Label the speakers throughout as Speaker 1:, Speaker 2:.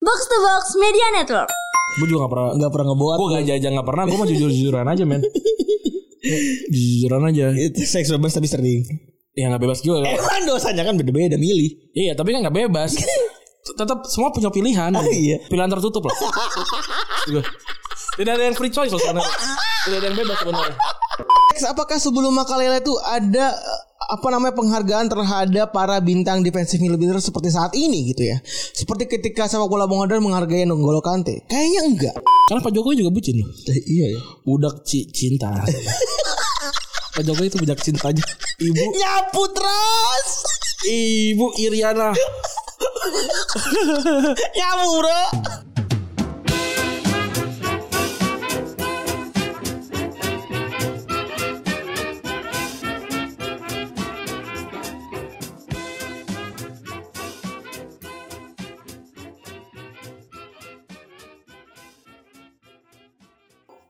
Speaker 1: Box to Box Media Network.
Speaker 2: Gue juga gak pernah
Speaker 3: Nggak pernah ngebuat
Speaker 2: Gue gak jajan gak pernah Gue mah jujur-jujuran aja men Jujur-jujuran aja
Speaker 3: Itu seks bebas tapi sering
Speaker 2: Ya gak bebas juga
Speaker 3: Eh
Speaker 2: kan?
Speaker 3: kan dosanya kan beda-beda milih
Speaker 2: Iya tapi kan gak bebas Tetap semua punya pilihan
Speaker 3: Iya.
Speaker 2: Pilihan tertutup lah Maksud gua. Tidak ada yang free choice loh sebenarnya Tidak ada yang bebas sebenarnya
Speaker 3: Seks apakah sebelum Makalele itu ada eh, apa namanya penghargaan terhadap para bintang defensive midfielder seperti saat ini gitu ya Seperti ketika sama bola Bongodar menghargai Nonggolo Kante Kayaknya enggak
Speaker 2: Karena Pak Jokowi juga bucin loh
Speaker 3: Iya ya
Speaker 2: Budak ci- cinta Pak Jokowi itu budak cinta aja Ibu
Speaker 3: Nyapu terus
Speaker 2: Ibu Iriana
Speaker 3: Nyapu bro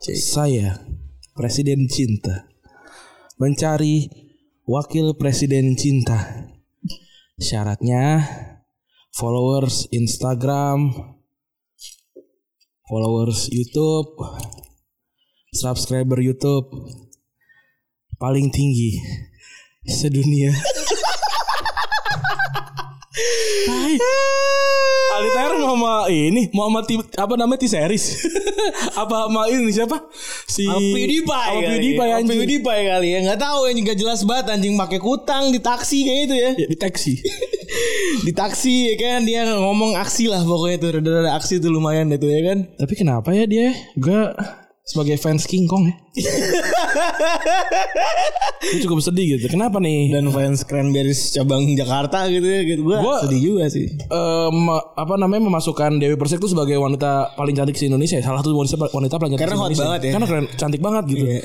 Speaker 2: Saya Presiden Cinta Mencari Wakil Presiden Cinta Syaratnya Followers Instagram Followers Youtube Subscriber Youtube Paling tinggi Sedunia Tai. Aldi Taher mau sama ini Mau sama tim- apa namanya T-Series Apa sama ini siapa Si
Speaker 3: PewDiePie
Speaker 2: Sama PewDiePie
Speaker 3: kali. ya.
Speaker 2: anjing.
Speaker 3: PewDiePie kali ya Gak tahu yang juga jelas banget anjing pakai kutang di taksi kayak itu ya
Speaker 2: Ya, di taksi
Speaker 3: Di taksi ya kan dia ngomong aksi lah pokoknya tuh Rada-rada aksi tuh lumayan itu ya kan
Speaker 2: Tapi kenapa ya dia? Gue sebagai fans King Kong ya. gue cukup sedih gitu. Kenapa nih?
Speaker 3: Dan fans Cranberries cabang Jakarta gitu ya gitu Gue
Speaker 2: Gua-
Speaker 3: sedih juga sih
Speaker 2: Em, eh, apa namanya memasukkan Dewi Persik tuh sebagai wanita paling cantik di Indonesia ya. salah satu wanita wanita paling cantik
Speaker 3: Karena
Speaker 2: di
Speaker 3: hot
Speaker 2: Indonesia.
Speaker 3: banget ya.
Speaker 2: karena keren, cantik banget gitu
Speaker 3: Iya.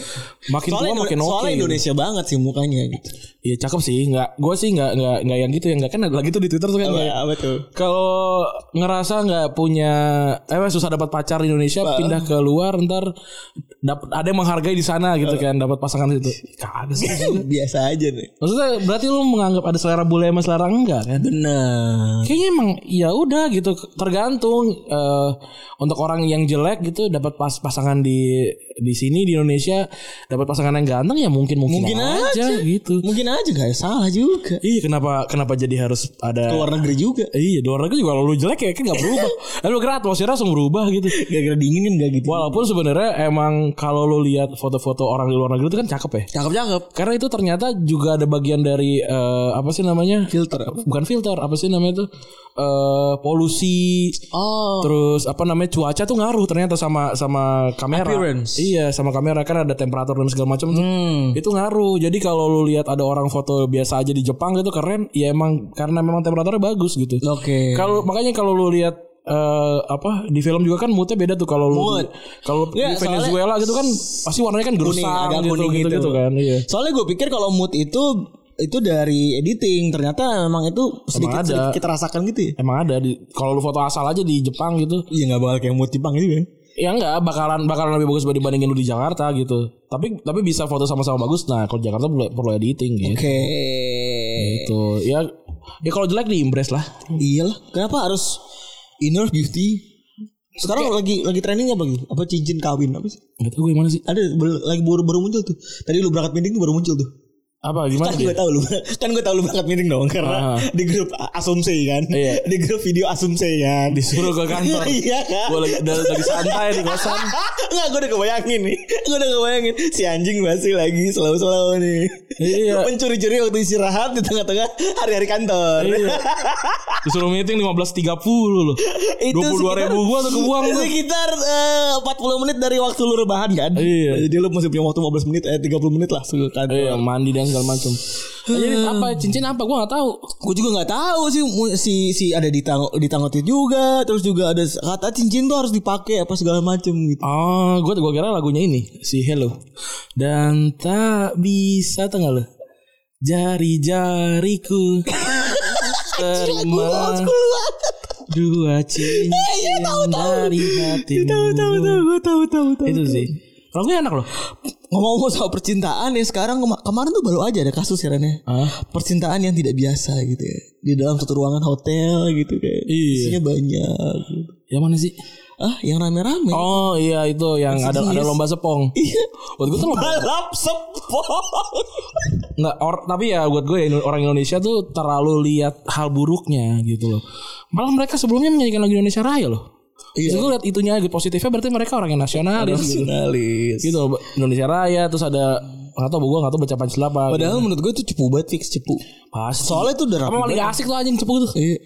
Speaker 2: makin
Speaker 3: Soalnya,
Speaker 2: tua makin oke
Speaker 3: Indo-
Speaker 2: gitu.
Speaker 3: soalnya Indonesia banget sih mukanya gitu
Speaker 2: iya cakep sih nggak gue sih nggak nggak nggak yang gitu yang nggak kan ada lagi tuh di Twitter tuh kan kayak,
Speaker 3: apa tuh
Speaker 2: kalau ngerasa nggak punya eh susah dapat pacar di Indonesia pindah ke luar ntar dapat ada yang menghargai di sana gitu kan dapat pasangan itu kagak sih
Speaker 3: Biasa aja nih
Speaker 2: Maksudnya berarti lu menganggap ada selera bule sama selera enggak kan?
Speaker 3: Bener
Speaker 2: Kayaknya emang ya udah gitu tergantung eh, untuk orang yang jelek gitu dapat pas pasangan di di sini di Indonesia dapat pasangan yang ganteng ya mungkin mungkin,
Speaker 3: Mungkin aja.
Speaker 2: gitu.
Speaker 3: Mungkin aja gak salah juga
Speaker 2: Iya kenapa kenapa jadi harus ada
Speaker 3: Luar negeri juga
Speaker 2: Iya di luar negeri juga kalau lu jelek ya kan gak berubah. Lalu kira atmosfernya langsung berubah gitu.
Speaker 3: Gara-gara dingin kan gak gitu
Speaker 2: Walaupun sebenarnya emang kalau lu lihat foto-foto orang di luar negeri itu kan cakep ya.
Speaker 3: Cakep-cakep
Speaker 2: Karena itu ternyata juga ada bagian dari eh, apa sih namanya?
Speaker 3: Filter
Speaker 2: bukan filter apa sih namanya tuh eh polusi
Speaker 3: Oh
Speaker 2: terus apa namanya cuaca tuh ngaruh ternyata sama sama kamera
Speaker 3: Appearance.
Speaker 2: iya sama kamera kan ada temperatur dan segala macam tuh.
Speaker 3: Hmm.
Speaker 2: itu ngaruh jadi kalau lu lihat ada orang foto biasa aja di Jepang gitu keren ya emang karena memang temperaturnya bagus gitu
Speaker 3: Oke.
Speaker 2: kalau makanya kalau lu lihat eh, apa di film juga kan moodnya beda tuh kalau lu
Speaker 3: Mood.
Speaker 2: kalau di
Speaker 3: Iya, soalnya-
Speaker 2: Venezuela gitu kan pasti warnanya kan
Speaker 3: Kuning,
Speaker 2: gersang
Speaker 3: agak
Speaker 2: gitu,
Speaker 3: kuning
Speaker 2: gitu,
Speaker 3: gitu.
Speaker 2: gitu kan iya
Speaker 3: Soalnya gue pikir kalau mood itu itu dari editing ternyata memang itu
Speaker 2: ada.
Speaker 3: sedikit sedikit kita rasakan gitu ya.
Speaker 2: emang ada di kalau lu foto asal aja di Jepang gitu
Speaker 3: Iya nggak bakal kayak mood Jepang gitu kan.
Speaker 2: Ya enggak bakalan bakalan lebih bagus dibandingin lu di Jakarta gitu. Tapi tapi bisa foto sama-sama bagus. Nah, kalau di Jakarta perlu, perlu editing gitu.
Speaker 3: Oke.
Speaker 2: Gitu. Ya ya kalau jelek di impress lah.
Speaker 3: Iyalah, kenapa harus inner beauty? Sekarang lagi lagi trending apa gitu? Apa cincin kawin apa sih?
Speaker 2: Enggak tahu gue Gitu. gimana sih.
Speaker 3: Ada baru- lagi baru baru muncul tuh. Tadi lu berangkat meeting tuh baru muncul tuh.
Speaker 2: Apa gimana
Speaker 3: Kan
Speaker 2: dia?
Speaker 3: gue tahu lu kan gue tahu lu berangkat meeting dong
Speaker 2: Oh, iya.
Speaker 3: karena
Speaker 2: Ah.
Speaker 3: di grup asumsi kan.
Speaker 2: Iya.
Speaker 3: Di grup video asumsi kan.
Speaker 2: Disuruh ke kantor.
Speaker 3: Iya kan.
Speaker 2: gue lagi dari, dari santai di kosan.
Speaker 3: Enggak gue udah kebayangin nih Gue udah kebayangin Si anjing masih lagi selalu-selalu nih
Speaker 2: Iya.
Speaker 3: Mencuri-curi waktu istirahat Di tengah-tengah hari-hari kantor
Speaker 2: Iya. Disuruh meeting 15.30 loh. 22
Speaker 3: Itu
Speaker 2: ribu
Speaker 3: sekitar-
Speaker 2: gua tuh kebuang tuh.
Speaker 3: Sekitar eh, 40 menit dari waktu lu rebahan kan
Speaker 2: Iya.
Speaker 3: Jadi lu masih punya waktu 15 menit Eh 30 menit lah ke kantor
Speaker 2: Iya, mandi dan segala macam. Nah, jadi apa cincin apa gue nggak tahu.
Speaker 3: Gue juga nggak tahu sih mu- si si ada di tang di Tangotit juga, terus juga ada s- kata cincin tuh harus dipakai apa segala macem gitu.
Speaker 2: Oh, gue gua kira lagunya ini si Hello. Dan tak bisa tengah lo. Jari-jariku
Speaker 3: Old
Speaker 2: terima
Speaker 3: school banget.
Speaker 2: dua
Speaker 3: Iya,
Speaker 2: cincin dari hatimu.
Speaker 3: Tahu tahu tahu gua tahu tahu tahu.
Speaker 2: Itu sih. Kalau gue enak loh.
Speaker 3: Ngomong-ngomong soal percintaan ya sekarang kema- kemarin tuh baru aja ada kasus ya Ren, ya.
Speaker 2: Hah?
Speaker 3: Percintaan yang tidak biasa gitu ya. Di dalam satu ruangan hotel gitu kayak.
Speaker 2: Iya.
Speaker 3: Isinya banyak. Gitu.
Speaker 2: Ya Yang mana sih?
Speaker 3: Ah, yang rame-rame.
Speaker 2: Oh iya itu yang ada ada
Speaker 3: Yes.
Speaker 2: lomba sepong.
Speaker 3: Iya.
Speaker 2: Buat gue tuh lomba.
Speaker 3: Balap sepong.
Speaker 2: Nggak, or, tapi ya buat gue ya, Indo- orang Indonesia tuh terlalu lihat hal buruknya gitu loh. Malah mereka sebelumnya menyanyikan lagu Indonesia Raya loh.
Speaker 3: Iya.
Speaker 2: Terus gue lihat itunya gitu positifnya berarti mereka orang yang nasionalis gitu.
Speaker 3: Nasionalis.
Speaker 2: Gitu loh, Indonesia Raya terus ada nggak tau gue nggak tau baca Pancasila apa. gitu.
Speaker 3: Padahal menurut gue itu cepu banget fix cepu.
Speaker 2: Pasti.
Speaker 3: Soalnya itu udah rapi
Speaker 2: Emang paling
Speaker 3: banget.
Speaker 2: asik tuh anjing cepu tuh.
Speaker 3: Iya.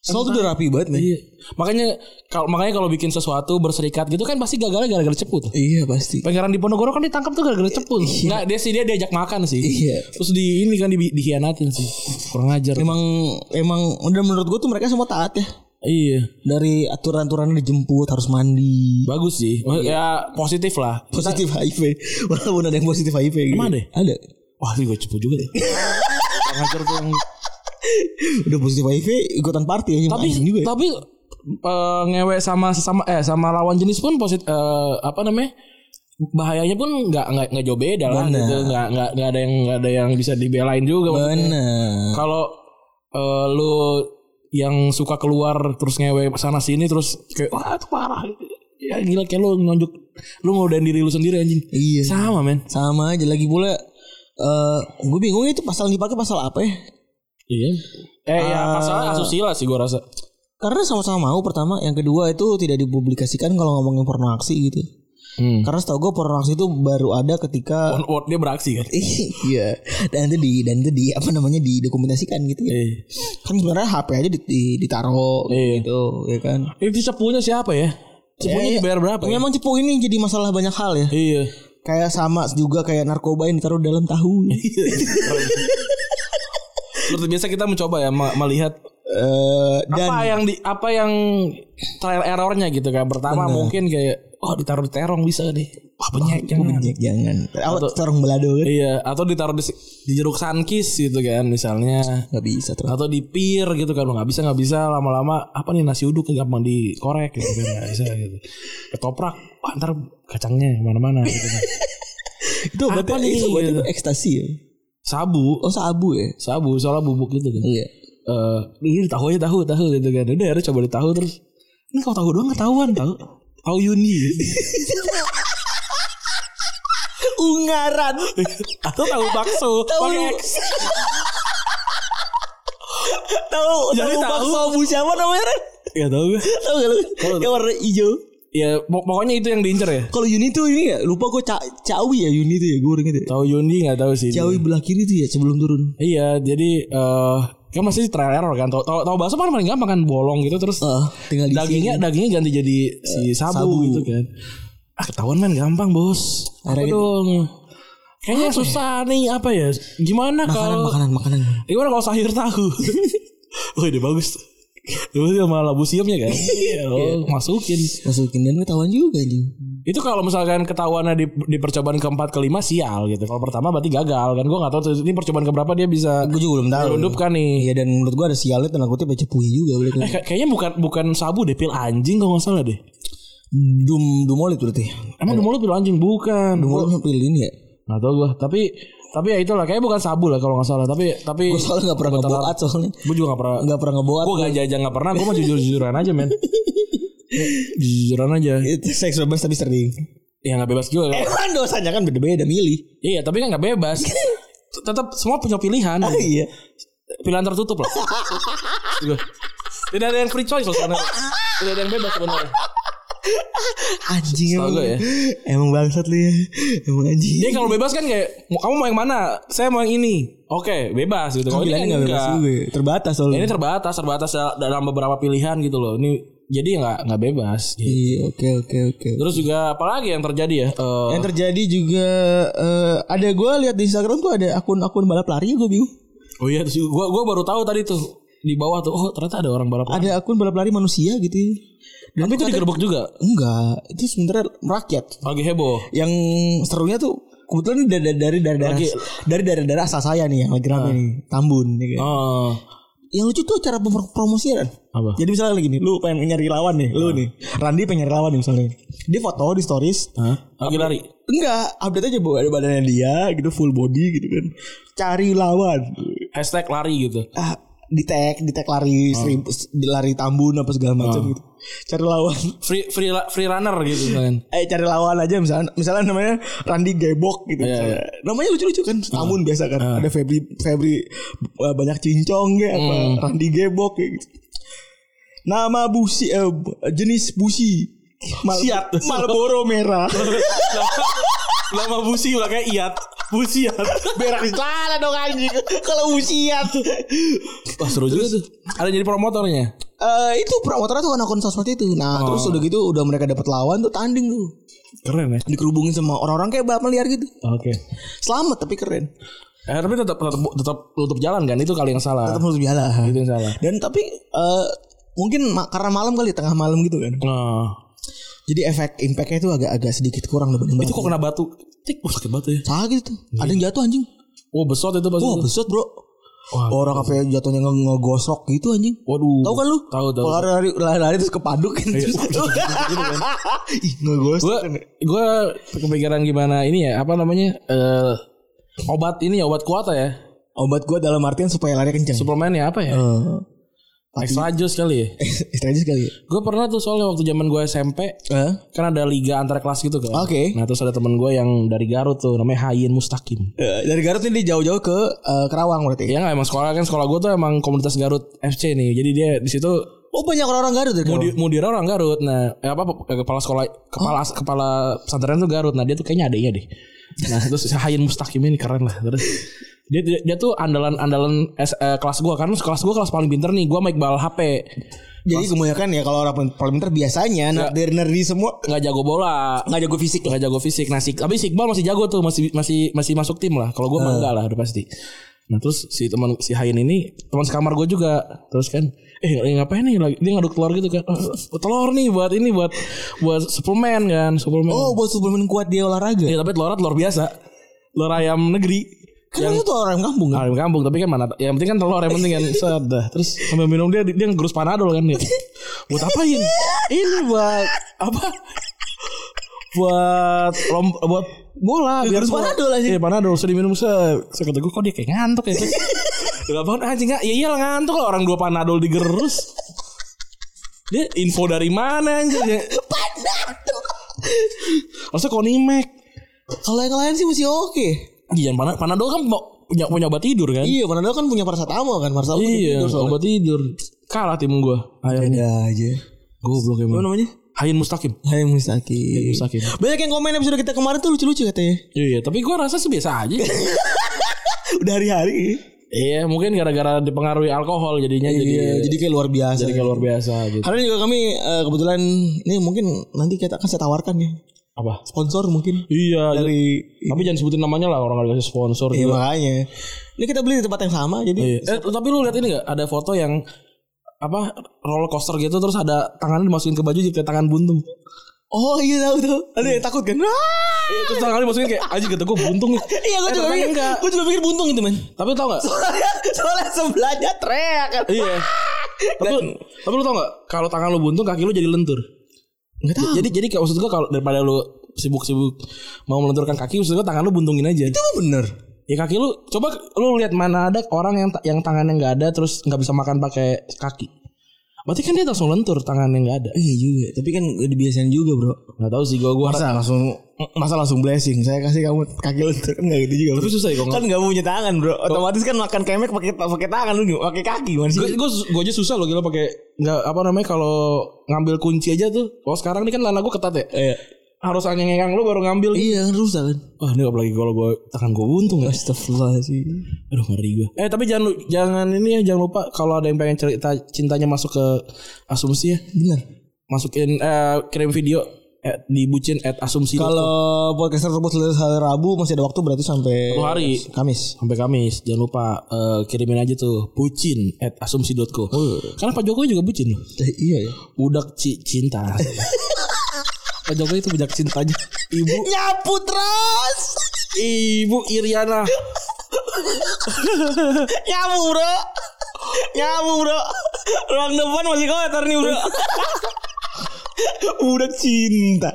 Speaker 3: Soalnya itu udah rapi banget nih.
Speaker 2: Iya. Makanya kalau makanya kalau bikin sesuatu berserikat gitu kan pasti gagalnya gara-gara cepu tuh.
Speaker 3: Iya pasti.
Speaker 2: Pangeran Diponegoro kan ditangkap tuh gara-gara cepu. Enggak, dia sih dia diajak makan sih.
Speaker 3: Iya.
Speaker 2: Terus di ini kan di, dihianatin sih. Kurang ajar.
Speaker 3: Emang emang udah menurut gue tuh mereka semua taat ya.
Speaker 2: Iya.
Speaker 3: Dari aturan-aturan dijemput harus mandi.
Speaker 2: Bagus sih. Ya positif lah.
Speaker 3: Positif HIV. Walaupun ada yang positif HIV gitu.
Speaker 2: Nah. Emang ada?
Speaker 3: Ada.
Speaker 2: Wah, gue cepu juga. tuh. Kurang ajar tuh yang
Speaker 3: Udah positif HIV ikutan party ya.
Speaker 2: tapi
Speaker 3: anjing juga. ya.
Speaker 2: tapi eh, ngewe sama sesama eh sama lawan jenis pun posit eh, apa namanya bahayanya pun nggak nggak nggak jauh beda lah
Speaker 3: Benar.
Speaker 2: gitu nggak nggak nggak ada yang nggak ada yang bisa dibelain juga maksudnya.
Speaker 3: Bener.
Speaker 2: kalau eh, lu yang suka keluar terus ngewe sana sini terus kayak wah itu parah ya gila kayak lu nunjuk lu ngodain diri lu sendiri anjing
Speaker 3: Iya.
Speaker 2: sama men
Speaker 3: Sama aja lagi pula. Eh, gue bingung itu pasal yang dipakai pasal apa ya?
Speaker 2: iya eh ya masalah asusila sih gua rasa
Speaker 3: Karena sama-sama mau pertama, yang kedua itu tidak dipublikasikan kalau ngomongin porno aksi gitu.
Speaker 2: hmm.
Speaker 3: Karena setahu gue porno aksi itu baru ada ketika
Speaker 2: dia beraksi kan
Speaker 3: iya dan itu di dan itu di apa namanya didokumentasikan gitu ya.
Speaker 2: eh.
Speaker 3: Kan sebenarnya HP aja di, di- ditaruh
Speaker 2: Iya.
Speaker 3: gitu ya kan.
Speaker 2: Itu cepunya siapa ya? Cepunya
Speaker 3: Ya, ya.
Speaker 2: dibayar berapa ya?
Speaker 3: Memang cepu ini jadi masalah banyak hal ya.
Speaker 2: Iya.
Speaker 3: Kayak sama juga kayak narkoba yang ditaruh dalam tahu.
Speaker 2: Seperti biasa kita mencoba ya ma- melihat
Speaker 3: Eh, dan
Speaker 2: apa yang di apa yang trial errornya gitu kan. Pertama mungkin kayak oh ditaruh di terong bisa nih. Wah banyak jangan.
Speaker 3: Ya, jangan. Awat sarung belado kan.
Speaker 2: Iya, atau ditaruh di, di jeruk sankis gitu kan misalnya.
Speaker 3: Gak bisa tuh.
Speaker 2: Atau di pir gitu kan. Nggak bisa nggak bisa lama-lama apa nih nasi uduk gampang dikorek gitu kan. Nggak bisa gitu. Ketoprak, wah ntar kacangnya kemana-mana gitu kan.
Speaker 3: Itu obatnya
Speaker 2: nih?
Speaker 3: itu obatnya tuh ekstasi ya.
Speaker 2: Sabu,
Speaker 3: Oh sabu ya.
Speaker 2: sabu soalnya bubuk gitu kan.
Speaker 3: Iya.
Speaker 2: eh ini tahu aja tahu tahu gitu kan udah akhirnya coba ditahu terus ini kalau tahu doang ketahuan tahu tahu Yuni
Speaker 3: Ungaran.
Speaker 2: atau tahu bakso
Speaker 3: Tahu.
Speaker 2: pakai X.
Speaker 3: Tahu
Speaker 2: Jadi
Speaker 3: Iya, tahu
Speaker 2: tahu.
Speaker 3: bakso bu siapa namanya Ren?
Speaker 2: ya tahu gue
Speaker 3: Tahu gak lu? Yang warna hijau.
Speaker 2: ya pok- pokoknya itu yang diincer ya
Speaker 3: Kalau Yuni tuh ini ya lupa gue ca cawi ya Yuni tuh ya gue inget ya.
Speaker 2: tahu Yuni nggak tahu sih dia.
Speaker 3: Cawi belah kiri tuh ya sebelum turun.
Speaker 2: iya jadi eh kan masih trial error kan tahu tahu tahu bakso paling paling gampang kan bolong gitu terus
Speaker 3: Ah, tinggal di Eh,
Speaker 2: dagingnya dagingnya ganti jadi si sabu,
Speaker 3: sabu.
Speaker 2: gitu kan ah ketahuan men gampang bos apa
Speaker 3: Akhirnya-
Speaker 2: dong kayaknya susah nih apa ya gimana
Speaker 3: Makanan
Speaker 2: kalau
Speaker 3: makanan makanan.
Speaker 2: Gimana kalau sayur tahu? Wih, dia bagus. Itu sama labu siamnya kan? Iya, lo masukin.
Speaker 3: Masukin dan ketahuan juga anjing.
Speaker 2: Itu kalau misalkan ketahuannya di, di percobaan keempat kelima sial gitu. Kalau pertama berarti gagal kan? Gue nggak tahu tuh, ini percobaan keberapa dia bisa
Speaker 3: Gue Ah, juga belum tahu.
Speaker 2: redup kan nih.
Speaker 3: Iya dan menurut gue ada sialnya tanda kutip ya cepuhi juga boleh kan.
Speaker 2: Eh, ka- kayaknya bukan bukan sabu deh, pil anjing kalau nggak salah deh.
Speaker 3: Dum dumolit berarti.
Speaker 2: Emang di mulut pil anjing bukan?
Speaker 3: Dumolit sampai ini ya.
Speaker 2: Nggak tahu gue. Tapi tapi ya itulah. Kayaknya bukan sabu lah kalau nggak salah. Tapi tapi
Speaker 3: Gue soalnya gak pernah ngeboat soalnya.
Speaker 2: gue juga nggak pernah.
Speaker 3: Gak pernah ngeboat.
Speaker 2: Gue gak jajan nggak pernah. Gue mah jujur jujuran aja men. jujuran aja.
Speaker 3: Itu Seks bebas tapi sering.
Speaker 2: Ya nggak bebas juga. kan?
Speaker 3: Kan dosanya kan beda-beda milih.
Speaker 2: Iya, tapi kan nggak bebas. Tetap semua punya pilihan.
Speaker 3: Iya.
Speaker 2: Pilihan tertutup lah. Juga. Tidak ada yang free choice loh sebenarnya. Tidak ada yang bebas sebenarnya.
Speaker 3: Anjing
Speaker 2: Setahu
Speaker 3: emang
Speaker 2: gue ya.
Speaker 3: Emang bangsat lu ya. Emang anjing.
Speaker 2: Dia kalau bebas kan kayak mau kamu mau yang mana? Saya mau yang ini. Oke, bebas gitu. Kalau ini
Speaker 3: Pilihannya
Speaker 2: kan
Speaker 3: nggak bebas
Speaker 2: enggak.
Speaker 3: juga. ya. Terbatas soalnya.
Speaker 2: Ini terbatas, terbatas dal- dalam beberapa pilihan gitu loh. Ini jadi nggak nggak bebas. gitu.
Speaker 3: Iya, oke oke oke.
Speaker 2: Terus juga apalagi yang terjadi ya? Eh,
Speaker 3: Yang terjadi juga eh, ada gue lihat di Instagram tuh ada akun-akun balap lari gue bingung.
Speaker 2: oh iya, terus gua gua baru tahu tadi tuh di bawah tuh. Oh ternyata ada orang balap.
Speaker 3: Ada akun balap lari manusia gitu. ya. Dan
Speaker 2: Tapi itu digerebek juga.
Speaker 3: enggak, itu sebenarnya rakyat.
Speaker 2: Lagi heboh.
Speaker 3: Yang serunya tuh kebetulan dari dari dari dari
Speaker 2: Lagi-
Speaker 3: dari dari daerah asal saya nih yang lagi rame
Speaker 2: Ah.
Speaker 3: nih, Tambun ya kan.
Speaker 2: Oh,
Speaker 3: Yang lucu tuh cara pem- promosinya kan.
Speaker 2: apa?
Speaker 3: Jadi misalnya lagi nih, lu pengen nyari lawan nih, lu nih. Randi pengen nyari lawan nih misalnya. Dia foto di stories.
Speaker 2: Hah? Lagi lari.
Speaker 3: Enggak, update aja bahwa ada badannya dia gitu full body gitu kan. Cari lawan.
Speaker 2: Hashtag lari gitu.
Speaker 3: Ah, di tag, di tag lari seribu, di lari tambun apa segala macam gitu. Cari lawan.
Speaker 2: free free free runner gitu kan.
Speaker 3: Eh cari lawan aja misalnya misalnya namanya Randi Gebok gitu.
Speaker 2: Iya, Ah.
Speaker 3: misalnya. Namanya lucu-lucu kan. Namun biasa kan. Ada Febri Febri eh, banyak cincong kayak apa
Speaker 2: Hmm.
Speaker 3: Randi Gebok kayak gitu. Nama busi eh, bu- jenis busi Mal-
Speaker 2: Siat.
Speaker 3: Malboro merah.
Speaker 2: Lama- Lama busi belakangnya iat. Busiat.
Speaker 3: Berak di celana dong anjing. Kalau usiat.
Speaker 2: Wah seru juga tuh. Ada jadi promotornya.
Speaker 3: Eh itu promotornya tuh kan akun sosmed itu. Nah,
Speaker 2: Oh.
Speaker 3: terus udah gitu udah mereka dapat lawan tuh tanding tuh.
Speaker 2: Keren ya.
Speaker 3: Dikerubungin sama orang-orang kayak balap liar gitu.
Speaker 2: Oke.
Speaker 3: Selamat tapi keren.
Speaker 2: Eh, tapi tetap tetap tetap tutup jalan kan itu kali yang salah. Nah,
Speaker 3: Tetap harus biala.
Speaker 2: Itu yang salah.
Speaker 3: Dan tapi eh, mungkin ma- karena malam kali tengah malam gitu kan.
Speaker 2: Nah,
Speaker 3: Jadi efek impactnya itu agak-agak sedikit kurang dibanding
Speaker 2: itu kok kena batu? Tik, wah sakit batu ya.
Speaker 3: sakit tuh. Ada yang jatuh anjing.
Speaker 2: Wah Oh, besot itu pasti.
Speaker 3: Wah,
Speaker 2: itu.
Speaker 3: besot, Bro.
Speaker 2: Wah,
Speaker 3: Orang apa yang jatuhnya nge- ngegosok gitu anjing.
Speaker 2: Waduh.
Speaker 3: Tahu kan lu?
Speaker 2: Uh, Tahu tahu. Iya. Gitu kan.
Speaker 3: Kalau lari, lari, lari terus kepaduk kan. Terus- Ih, ngegosok.
Speaker 2: Gue gue kepikiran gimana ini ya apa namanya eh obat ini ya obat kuota ya
Speaker 3: Obat gua dalam artian supaya lari kenceng.
Speaker 2: suplemen ya apa ya
Speaker 3: Eh,
Speaker 2: extra juice kali ya
Speaker 3: Istilahnya Eh, sekali.
Speaker 2: gue pernah tuh soalnya waktu zaman gue SMP
Speaker 3: Eh?
Speaker 2: kan ada liga antar kelas gitu kan
Speaker 3: Oke.
Speaker 2: nah terus ada temen gue yang dari Garut tuh namanya Hayin Mustakim
Speaker 3: Eh, dari Garut nih dia jauh-jauh ke eh, Karawang berarti.
Speaker 2: ya nggak emang sekolah kan sekolah gue tuh emang komunitas Garut FC nih jadi dia di situ
Speaker 3: Oh banyak orang-orang Garut dari Karawang.
Speaker 2: Mudi- Mudira orang Garut. Nah, eh, apa pe- kepala sekolah kepala kepala pesantren itu Garut. Nah, dia tuh kayaknya adiknya deh. Nah, terus si Hayin Mustakim ini keren lah. Terus dia, dia, dia tuh andalan-andalan S- eh, kelas gua kan. Kelas gua kelas paling pinter nih. Gua make bal HP.
Speaker 3: Jadi kebanyakan ya kalau orang paling- paling pintar biasanya nerdy-nerdy semua
Speaker 2: nggak jago bola,
Speaker 3: nggak jago fisik lah.
Speaker 2: nggak jago fisik. Nah, si, tapi si Iqbal masih jago tuh, masih masih masih masuk tim lah. Kalau gua mah enggak lah, udah pasti. Nah, terus si teman si Hayin ini teman sekamar gua juga. Terus kan, eh ngapain nih lagi? Dia ngaduk telur gitu kan. "Eh, telur nih buat ini buat buat suplemen kan, suplemen.
Speaker 3: Oh, buat suplemen kuat dia olahraga.
Speaker 2: Iya tapi telurnya telur biasa. Telur ayam negeri.
Speaker 3: Kan itu orang kampung kan.
Speaker 2: Ayam kampung tapi kan mana yang penting kan telur yang penting kan sedah. Terus sambil minum dia dia ngerus panadol kan dia. Buat apain? Ini buat apa? Buat lom, buat bola biar
Speaker 3: Ngerus
Speaker 2: bola.
Speaker 3: Panadol aja.
Speaker 2: Iya panadol sudah diminum se. Saya kata gue kok dia kayak ngantuk ya. Udah bangun anjing nggak? Ya iyalah ngantuk lah orang dua panadol digerus. Dia info dari mana anjing? Ya, Harusnya Konimek.
Speaker 3: Kalau yang lain sih masih oke.
Speaker 2: Iya, panadol, panadol kan mau- punya punya obat tidur kan?
Speaker 3: Iya, Panadol kan punya paracetamol kan, paracetamol.
Speaker 2: Iya, obat tidur. Kalah tim gua. Akhirnya
Speaker 3: Ada aja.
Speaker 2: goblok
Speaker 3: Apa
Speaker 2: emang.
Speaker 3: namanya?
Speaker 2: Hayin Mustaqim.
Speaker 3: Hai Mustaki.
Speaker 2: Mustaqim.
Speaker 3: Banyak yang komen episode kita kemarin tuh lucu-lucu katanya.
Speaker 2: Iya, tapi gua rasa sih biasa aja.
Speaker 3: Udah hari-hari.
Speaker 2: iya, mungkin gara-gara dipengaruhi alkohol jadinya jadi
Speaker 3: Iya, jadi kayak luar biasa.
Speaker 2: jadi kayak luar biasa gitu.
Speaker 3: Karena juga kami eh, kebetulan ini mungkin nanti kita akan saya tawarkan ya
Speaker 2: Apa?
Speaker 3: sponsor mungkin
Speaker 2: Iya,
Speaker 3: dari
Speaker 2: tapi jangan sebutin namanya lah orang gak dikasih sponsor
Speaker 3: Iya
Speaker 2: juga.
Speaker 3: makanya. Ini kita beli di tempat yang sama jadi
Speaker 2: Iya. Eh, tapi lu lihat ini gak? Ada foto yang apa roller coaster gitu terus ada tangannya dimasukin ke baju jadi kayak tangan buntung.
Speaker 3: Oh iya tahu tuh. Ada yang takut kan? Ah!
Speaker 2: Iya, terus tangannya dimasukin kayak aja kata gua buntung. nih."
Speaker 3: Iya
Speaker 2: Eh,
Speaker 3: gue juga
Speaker 2: ternyata
Speaker 3: mikir,
Speaker 2: enggak.
Speaker 3: gue juga mikir buntung gitu men.
Speaker 2: Tapi tau gak?
Speaker 3: Soalnya, soalnya sebelahnya teriak kan.
Speaker 2: Iya. Tapi, tapi lu tau gak? Kalau tangan lu buntung, kaki lu jadi lentur.
Speaker 3: Nggak tahu.
Speaker 2: Jadi, jadi kayak maksud gua kalau daripada lu sibuk-sibuk mau melenturkan kaki, maksud gua tangan lu buntungin aja.
Speaker 3: Emang bener.
Speaker 2: Ya kaki lu, coba lu lihat mana ada orang yang ta- yang tangannya nggak ada, terus nggak bisa makan pakai kaki. Berarti kan dia langsung lentur tangannya nggak ada.
Speaker 3: Iya juga. Tapi kan dibiasain juga bro.
Speaker 2: Nggak tahu sih gua gua.
Speaker 3: Masa langsung masa langsung blessing. Saya kasih kamu kaki lentur kan nggak gitu juga. Bro.
Speaker 2: Tapi susah ya kalau
Speaker 3: kan
Speaker 2: nggak-
Speaker 3: nggak punya tangan bro. Otomatis kan makan kemek pakai pakai tangan lu nggak pakai kaki gimana sih?
Speaker 2: Gue gue gue aja susah loh gila pakai nggak apa namanya kalau ngambil kunci aja tuh. Kalau sekarang ini kan lana gue ketat ya.
Speaker 3: Iya.
Speaker 2: Harus angin-angin lu baru ngambil.
Speaker 3: Iya kan rusak kan.
Speaker 2: Wah ini apalagi kalau gue tangan gue buntung ya.
Speaker 3: Astagfirullahaladzim.
Speaker 2: Aduh ngeri gue. Eh tapi jangan lu- jangan ini ya jangan lupa kalau ada yang pengen cerita cintanya masuk ke asumsi ya
Speaker 3: Bener.
Speaker 2: masukin eh, kirim video at, di bucin at asumsi
Speaker 3: Kalau podcast tersebut rilis hari Rabu masih ada waktu berarti sampai
Speaker 2: Satu hari.
Speaker 3: Kamis.
Speaker 2: sampai Kamis jangan lupa eh, kirimin aja tuh bucin at asumsi.co
Speaker 3: Oh.
Speaker 2: karena Pak Jokowi juga bucin loh
Speaker 3: iya ya.
Speaker 2: budak ci- cinta Pak Jokowi itu budak cintanya ibu
Speaker 3: Nyapu terus.
Speaker 2: ibu Iriana
Speaker 3: Nyapu bro. Nyapu bro. Ruang depan masih kotor nih bro. Udah cinta.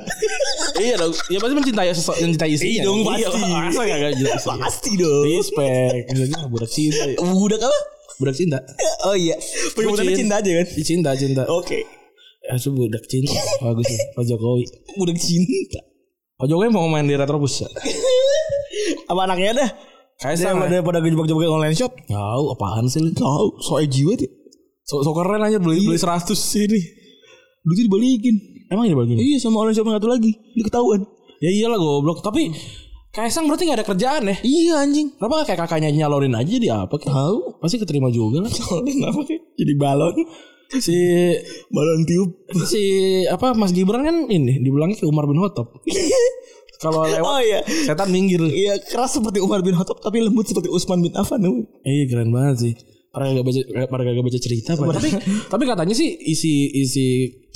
Speaker 2: iya dong ya pasti mencintai sesuatu mencintai istrinya
Speaker 3: Iya dong,
Speaker 2: Iya,
Speaker 3: pasti.
Speaker 2: masa nggak nggak jelas
Speaker 3: Pasti dong.
Speaker 2: respect Maksudnya budak cinta ya.
Speaker 3: Iya. Budak apa?
Speaker 2: budak cinta
Speaker 3: Oh iya. Penyebutannya
Speaker 2: Bucin.
Speaker 3: cinta aja kan.
Speaker 2: cinta Eh, cinta
Speaker 3: Oke.
Speaker 2: Asu budak cinta Bagus ya Pak Jokowi Budak cinta Pak Jokowi mau main di Retrobus ya?
Speaker 3: Apa anaknya dah?
Speaker 2: Kaisang ya?
Speaker 3: Daripada daripada gejebak-jebakin online shop.
Speaker 2: Tahu apaan sih lu
Speaker 3: Tahu, so edgy banget ya.
Speaker 2: so, so keren aja beli beli
Speaker 3: Iya.
Speaker 2: 100 sini
Speaker 3: Duitnya dibalikin.
Speaker 2: Emang ini begini
Speaker 3: Iya sama online shop yang satu lagi. Dia ketahuan.
Speaker 2: Ya iyalah goblok Tapi Kaisang berarti gak ada kerjaan ya
Speaker 3: Iya anjing.
Speaker 2: Kenapa gak kayak kakaknya nyalorin aja jadi apa kek?
Speaker 3: Tahu.
Speaker 2: Pasti keterima juga lah
Speaker 3: Soalnya kenapa sih? Jadi balon.
Speaker 2: Si
Speaker 3: Balon tiup.
Speaker 2: Si apa Mas Gibran kan ini Dibilangnya kayak Umar bin Khattab Kalau lewat
Speaker 3: oh iya.
Speaker 2: Setan minggir
Speaker 3: Iya keras seperti Umar bin Khattab tapi lembut seperti Utsman bin Affan. weh.
Speaker 2: Iya keren banget sih. Para gak baca eh, para gak baca cerita Pak. Tapi tapi katanya sih isi isi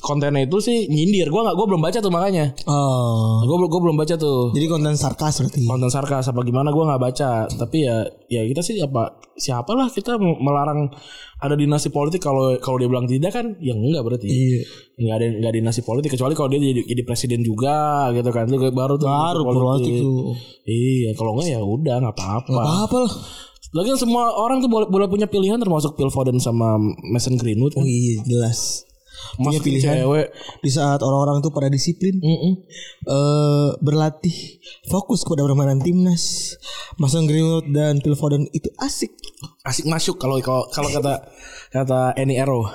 Speaker 2: kontennya itu sih nyindir. Gua nggak gua belum baca tuh makanya.
Speaker 3: Oh.
Speaker 2: Gua belum- gua belum baca tuh.
Speaker 3: Jadi konten sarkas berarti.
Speaker 2: Konten sarkas apa gimana gua nggak baca. Tapi ya ya kita sih apa siapalah kita melarang ada dinasti politik kalau kalau dia bilang tidak kan ya enggak berarti.
Speaker 3: Iya.
Speaker 2: Enggak ada enggak dinasti politik kecuali kalau dia jadi, jadi presiden juga gitu kan. Itu baru tuh
Speaker 3: Baru politik tuh.
Speaker 2: Iya, kalau enggak ya udah nggak apa-apa.
Speaker 3: Apa lah?
Speaker 2: Lagian semua orang tuh boleh, boleh punya pilihan termasuk Phil Foden sama Mason Greenwood.
Speaker 3: Oh iya jelas.
Speaker 2: Mas
Speaker 3: punya pilihan.
Speaker 2: cewek.
Speaker 3: Di saat orang-orang tuh pada disiplin,
Speaker 2: Mm-mm.
Speaker 3: eh berlatih, fokus kepada permainan timnas, Mason Greenwood dan Phil Foden itu asik,
Speaker 2: Asik masuk kalau kalau kalau kata kata Annie Arrow.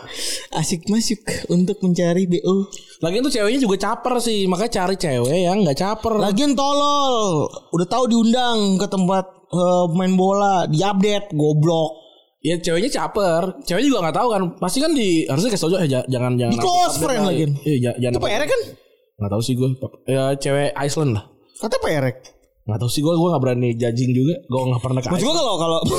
Speaker 3: asik masuk untuk mencari BO.
Speaker 2: Lagian tuh ceweknya juga caper sih, makanya cari cewek yang nggak caper.
Speaker 3: Lagian tolol, udah tahu diundang ke tempat eh, main bola, diupdate, goblok.
Speaker 2: Ya ceweknya caper, ceweknya juga nggak tahu kan. Pasti kan di harusnya kasih tau juga, ya, ja- jangan jangan.
Speaker 3: Di close friend lagian.
Speaker 2: Iya, ja- jangan.
Speaker 3: Itu PR kan?
Speaker 2: Nggak tahu sih gue. Ya cewek Iceland lah.
Speaker 3: Katanya PR.
Speaker 2: Nggak tahu sih gue, gue nggak berani judging juga. Gue nggak pernah ke
Speaker 3: Maksud
Speaker 2: Iceland.
Speaker 3: gua kalau kalau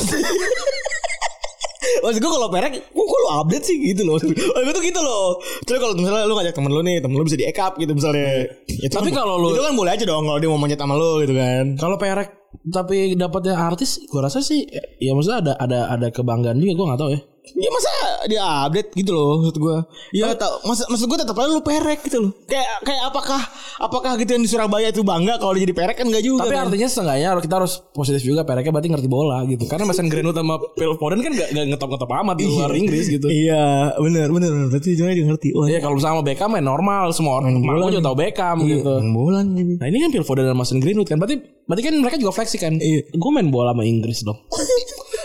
Speaker 3: Maksud gua kalau perek Kok kok lu update sih gitu loh Maksud gua tuh gitu loh Terus kalau misalnya lu ngajak temen lu nih Temen lu bisa di ekap gitu misalnya Itu
Speaker 2: Tapi
Speaker 3: kan-
Speaker 2: kalau lu-
Speaker 3: Itu kan boleh aja dong Kalau dia mau manjat sama lu gitu kan
Speaker 2: Kalau perek tapi dapatnya artis, gue rasa sih ya maksudnya ada ada ada kebanggaan juga, gue nggak tahu ya.
Speaker 3: Ya masa dia update gitu loh Maksud gua Ya tau Maksud, maksud gua tetap aja lu perek gitu loh Kayak kayak apakah Apakah gitu yang di Surabaya itu bangga Kalau dia jadi perek kan enggak juga
Speaker 2: Tapi
Speaker 3: kan?
Speaker 2: artinya setengahnya kita harus positif juga Pereknya berarti ngerti bola gitu. Karena Mason Greenwood sama Phil Foden kan gak, gak ngetop-ngetop amat di luar Inggris gitu.
Speaker 3: Iya bener bener bener. Berarti ujungnya dia ngerti Wah
Speaker 2: Iya kalau sama Beckham ya normal semua orang mau juga tahu Beckham gitu.
Speaker 3: main bola nih ini.
Speaker 2: Nah ini kan Phil Foden dan Mason Greenwood kan berarti berarti kan mereka juga fleksi kan.
Speaker 3: Iya.
Speaker 2: Gue main bola sama Inggris dong.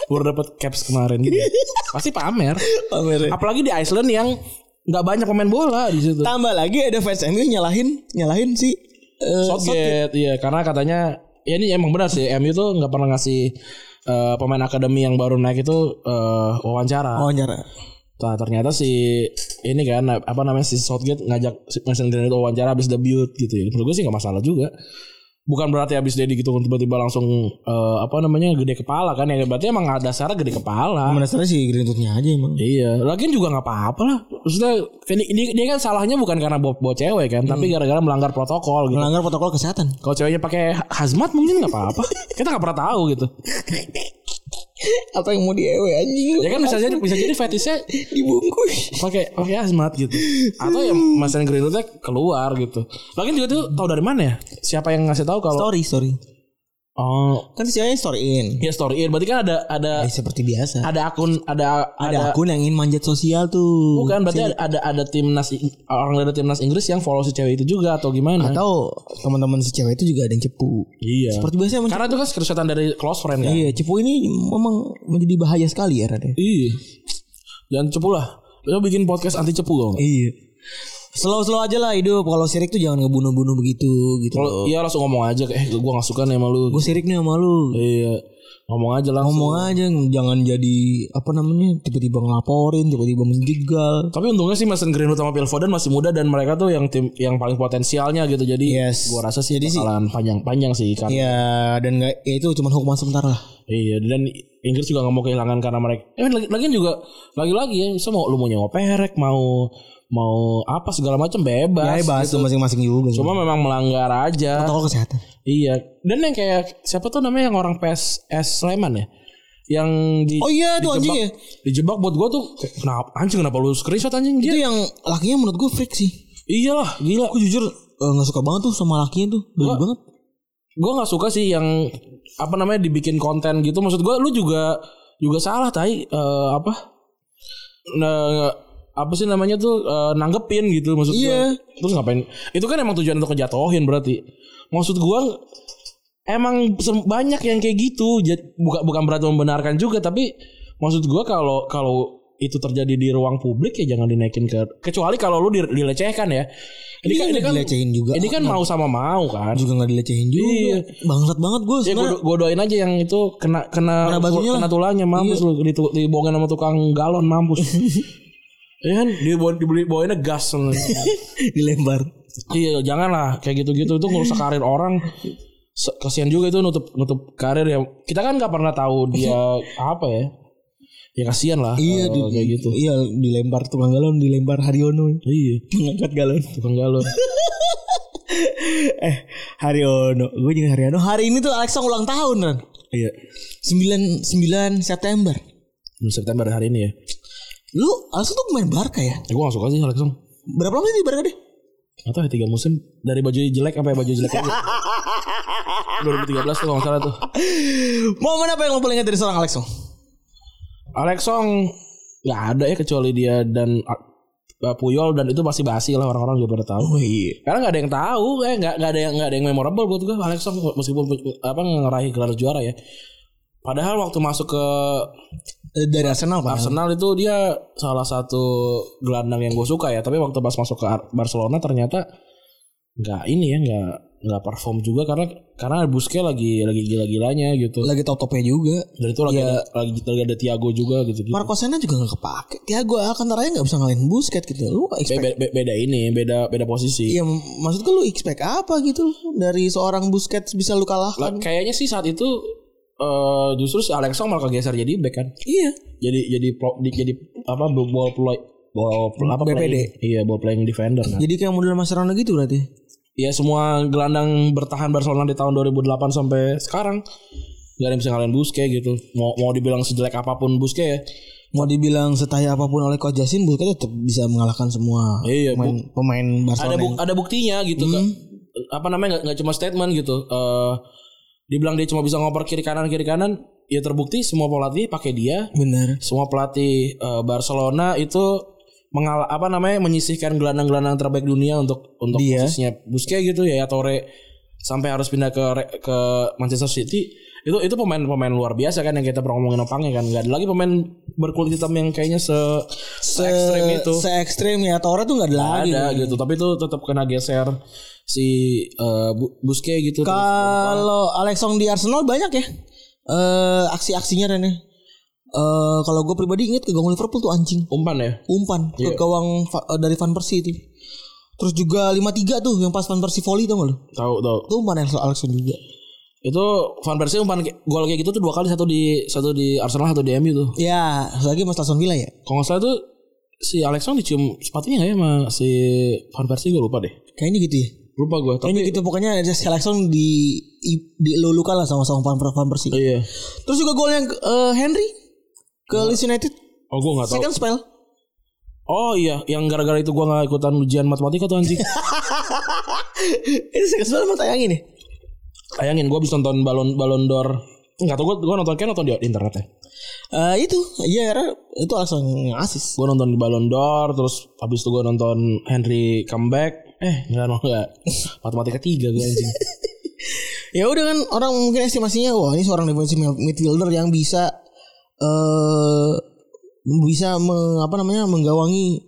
Speaker 2: Baru dapat caps kemarin gitu. Pasti pamer.
Speaker 3: Pamer ya.
Speaker 2: Apalagi di Iceland yang nggak banyak pemain bola di situ.
Speaker 3: Tambah lagi ada fans MU nyalahin nyalahin si eh,
Speaker 2: Southgate, iya karena katanya ya ini emang benar sih MU tuh nggak pernah ngasih eh, pemain akademi yang baru naik itu eh, wawancara.
Speaker 3: Oh nyara.
Speaker 2: Nah, ternyata si ini kan apa namanya si Southgate ngajak si Mason Greenwood wawancara habis debut gitu ya. Menurut gue sih nggak masalah juga. Bukan berarti habis dia gitu tiba-tiba langsung eh, apa namanya gede kepala kan ya. Berarti emang ada dasarnya gede kepala.
Speaker 3: Penasaran sih Greenwoodnya aja emang.
Speaker 2: Iya, lagian juga nggak apa-apa lah. Maksudnya ini, ini- dia kan salahnya bukan karena bawa, bawa cewek kan, tapi gara-gara melanggar protokol gitu.
Speaker 3: Melanggar protokol kesehatan.
Speaker 2: Kalau ceweknya pakai hazmat mungkin nggak apa-apa. Kita nggak pernah tahu gitu.
Speaker 3: Apa yang mau diewe anjing?
Speaker 2: Ya kan bisa jadi bisa jadi fetishnya
Speaker 3: dibungkus.
Speaker 2: pakai pakai hazmat gitu. Atau ya Masan Greenwoodnya keluar gitu. Lagian juga tuh tahu dari mana ya? Siapa yang ngasih tahu kalau
Speaker 3: Story story.
Speaker 2: Oh,
Speaker 3: Kan si ceweknya storyin.
Speaker 2: ya story in. Berarti kan ada ada
Speaker 3: Ya, seperti biasa.
Speaker 2: ada akun ada
Speaker 3: Ada, iya. akun yang ingin manjat sosial tuh.
Speaker 2: bukan berarti ada, ada ada timnas Ing- orang dari timnas Inggris yang follow si cewek itu juga atau gimana?
Speaker 3: Atau teman-teman si cewek itu juga ada yang cepu.
Speaker 2: iya.
Speaker 3: Seperti biasa emang
Speaker 2: Karena itu kan screenshotan dari close friend kan.
Speaker 3: Iya, cepu ini memang menjadi bahaya sekali ya Raden.
Speaker 2: Iya. Jangan cepu lah. Lo bikin podcast anti cepu dong.
Speaker 3: Iya. Slow-slow aja lah hidup. Kalau sirik tuh jangan ngebunuh-bunuh begitu gitu. loh.
Speaker 2: Kalau iya langsung ngomong aja kayak eh gua gak suka nih sama lu.
Speaker 3: Gue sirik nih sama lu.
Speaker 2: Iya. Ngomong aja langsung.
Speaker 3: ngomong aja jangan jadi apa namanya tiba-tiba ngelaporin tiba-tiba menjegal
Speaker 2: Tapi untungnya sih Mason Greenwood sama Phil Foden masih muda dan mereka tuh yang tim yang paling potensialnya gitu. Jadi
Speaker 3: Yes.
Speaker 2: gua rasa sih
Speaker 3: Jadi sih-
Speaker 2: bakalan panjang-panjang sih kan.
Speaker 3: ya dan nggak ya itu cuma hukuman sebentar lah
Speaker 2: Iya, dan Inggris juga nggak mau kehilangan karena mereka. Eh, lagi lagian juga lagi-lagi ya, bisa mau lu mau nyewa perek, mau mau apa segala macam bebas.
Speaker 3: ya bahas tuh masing-masing juga
Speaker 2: Cuma memang melanggar aja.
Speaker 3: protokol kesehatan
Speaker 2: Iya. Dan yang kayak siapa tuh namanya yang orang PSS Sleman ya? Yang di
Speaker 3: oh iya
Speaker 2: dijebak-
Speaker 3: tuh anjing ya
Speaker 2: Dijebak buat gua tuh kayak, kenapa anjing kenapa lu screenshot anjing
Speaker 3: itu
Speaker 2: dia?
Speaker 3: yang lakinya menurut gue freak sih
Speaker 2: Iyalah, gila.
Speaker 3: gue jujur eh, nggak suka banget tuh sama lakinya tuh beli
Speaker 2: Gua-
Speaker 3: banget
Speaker 2: gue nggak suka sih yang apa namanya dibikin konten gitu maksud gue lu juga juga salah tai Eh, apa nah apa sih namanya tuh eh, nanggepin gitu maksud gua.
Speaker 3: Iya.
Speaker 2: Terus ngapain? Itu kan emang tujuan untuk ngejatuhin berarti. Maksud gua emang sem- banyak yang kayak gitu. Jad- Bukan bukan berarti membenarkan juga tapi maksud gua kalau kalau itu terjadi di ruang publik ya jangan dinaikin ke kecuali kalau lu di- dilecehkan ya. Ini kan
Speaker 3: Iya,
Speaker 2: ini kan
Speaker 3: dilecehin juga.
Speaker 2: Ini kan mau sama mau kan.
Speaker 3: juga nggak dilecehin juga.
Speaker 2: Iya.
Speaker 3: Bangsat banget gue
Speaker 2: Ya
Speaker 3: sebenarnya.
Speaker 2: gue doain aja yang itu kena kena
Speaker 3: Kena batunya
Speaker 2: kena
Speaker 3: lah. Iya.
Speaker 2: tulangnya mampus lu ditu- dibohongin sama tukang galon mampus. Iya kan dibawa- dibeli bawainnya gas.
Speaker 3: dilempar.
Speaker 2: iya janganlah kayak gitu-gitu itu ngerusak karir orang. Se- Kasihan juga itu nutup nutup karir ya. Kita kan nggak pernah tahu dia apa ya. Ya kasihan lah.
Speaker 3: Iya
Speaker 2: kalau
Speaker 3: di-
Speaker 2: kayak gitu.
Speaker 3: Iya dilempar tukang galon, dilempar Haryono.
Speaker 2: Iya
Speaker 3: Ngangkat galon.
Speaker 2: tukang galon.
Speaker 3: eh Haryono, gue juga Haryono. Hari ini tuh Alexa ulang tahun kan.
Speaker 2: iya.
Speaker 3: 9 9 September.
Speaker 2: Bulan September hari ini ya.
Speaker 3: Lu Alexa tuh main Barca ya?
Speaker 2: Ya, gue gak suka sih Alex Song.
Speaker 3: Berapa lama sih di Barca deh?
Speaker 2: Gak tau ya tiga musim dari baju jelek sampai baju jelek aja. 2013 tuh kalau nggak salah tuh.
Speaker 3: Momen apa yang lo paling ingat dari seorang Alexa?
Speaker 2: Alex Song nggak ada ya kecuali dia dan uh, Puyol dan itu masih basi lah orang-orang juga pada tahu.
Speaker 3: Oh iya.
Speaker 2: Karena nggak ada yang tahu, eh nggak nggak ada yang nggak ada yang memorable buat gue Alex Song meskipun uh, apa ngeraih gelar juara ya. Padahal waktu masuk ke
Speaker 3: Eh, Dari Arsenal pak.
Speaker 2: Arsenal itu dia salah satu gelandang yang gue suka ya. Tapi waktu pas masuk ke Ar- Barcelona ternyata nggak ini ya nggak nggak perform juga karena karena Busquets lagi lagi gila-gilanya gitu.
Speaker 3: Lagi top-topnya juga.
Speaker 2: Dan itu lagi ada, lagi, lagi ada Thiago juga gitu. gitu.
Speaker 3: Marco Senna juga gak kepake. Ya gue Alcantara nggak bisa ngalahin Busquets gitu. Lu
Speaker 2: Be-
Speaker 3: expect
Speaker 2: be- be- beda ini beda beda posisi
Speaker 3: Iya maksud gue lu expect apa gitu dari seorang Busquets bisa lu
Speaker 2: Lah,
Speaker 3: kalahkan?
Speaker 2: kayaknya sih saat itu eh, justru si Alex Song malah kegeser jadi back kan
Speaker 3: Iya.
Speaker 2: jadi jadi pro, di- jadi apa ball play ball pl- apa
Speaker 3: BPD.
Speaker 2: playing- iya ball playing defender kan
Speaker 3: Jadi kayak model Mascherano gitu berarti.
Speaker 2: ya semua gelandang bertahan Barcelona di tahun 2008 sampai sekarang nggak ada yang bisa ngalahin Busquets gitu mau mau dibilang sejelek apapun Busquets ya
Speaker 3: Mau dibilang setaya apapun oleh Coach Jasin Busquets tetap bisa mengalahkan semua
Speaker 2: Iya,
Speaker 3: pemain, pemain
Speaker 2: ada
Speaker 3: Barcelona.
Speaker 2: buk- ada buktinya gitu Kak. apa namanya nggak- nggak cuma statement gitu Eh dibilang dia cuma bisa ngoper kiri kanan kiri kanan ya terbukti semua pelatih pakai dia
Speaker 3: Bener.
Speaker 2: semua pelatih eh, Barcelona itu mengalah apa namanya menyisihkan gelandang-gelandang terbaik dunia untuk untuk
Speaker 3: Dia.
Speaker 2: posisinya Busquets gitu ya Torre sampai harus pindah ke Re- ke Manchester City itu itu pemain-pemain luar biasa kan yang kita pernah ngomongin opangnya kan nggak ada lagi pemain berkulit hitam yang kayaknya se se ekstrim itu
Speaker 3: Se ekstrim ya Torre tuh nggak ada
Speaker 2: Nggak
Speaker 3: lagi.
Speaker 2: ada gitu tapi itu tetap kena geser si eh, Bu- Busquets gitu terus
Speaker 3: Kalau Alex Song di Arsenal banyak ya eh aksi-aksinya Rene. Eh kalau gue pribadi inget ke gawang Liverpool tuh anjing.
Speaker 2: umpan ya
Speaker 3: umpan ke gawang Fa- eh, dari Van Persie itu. Terus juga 5-3 tuh yang pas Van Persie volley tau gak lu?
Speaker 2: tahu tahu
Speaker 3: Itu umpan Alex Alexon juga.
Speaker 2: itu Van Persie umpan ke- gol kayak gitu tuh dua kali satu di satu di Arsenal satu di MU tuh
Speaker 3: Ya, satu lagi Mas Lason Villa ya.
Speaker 2: Kalau nggak salah tuh si Alex Song dicium sepatunya nggak ya sama si Van Persie gue lupa deh.
Speaker 3: Kayaknya gitu ya.
Speaker 2: Lupa gue. Tapi
Speaker 3: Kayaknya gitu pokoknya si Alexon di i- dilulukan lah sama sama Van, Van Persie.
Speaker 2: iya.
Speaker 3: Terus juga gol yang eh, Henry ke Leeds United
Speaker 2: Oh gue nggak tahu.
Speaker 3: second spell.
Speaker 2: Oh iya, yang gara-gara itu gue nggak ikutan ujian matematika tuh anjing.
Speaker 3: Ini second spell mau tayangin ya?
Speaker 2: Bayangin gue bisa nonton balon balon d'Or. Nggak tau gue gue nonton kayak nonton di internet ya.
Speaker 3: Eh itu iya karena itu Alexon yang asis.
Speaker 2: Gue nonton di balon d'Or, terus habis itu gue nonton Henry comeback. Eh nggak nonton nggak. matematika tiga gue anjing.
Speaker 3: Ya udah kan orang mungkin estimasinya wah ini seorang defensive mid- midfielder yang bisa eh bisa me- apa namanya menggawangi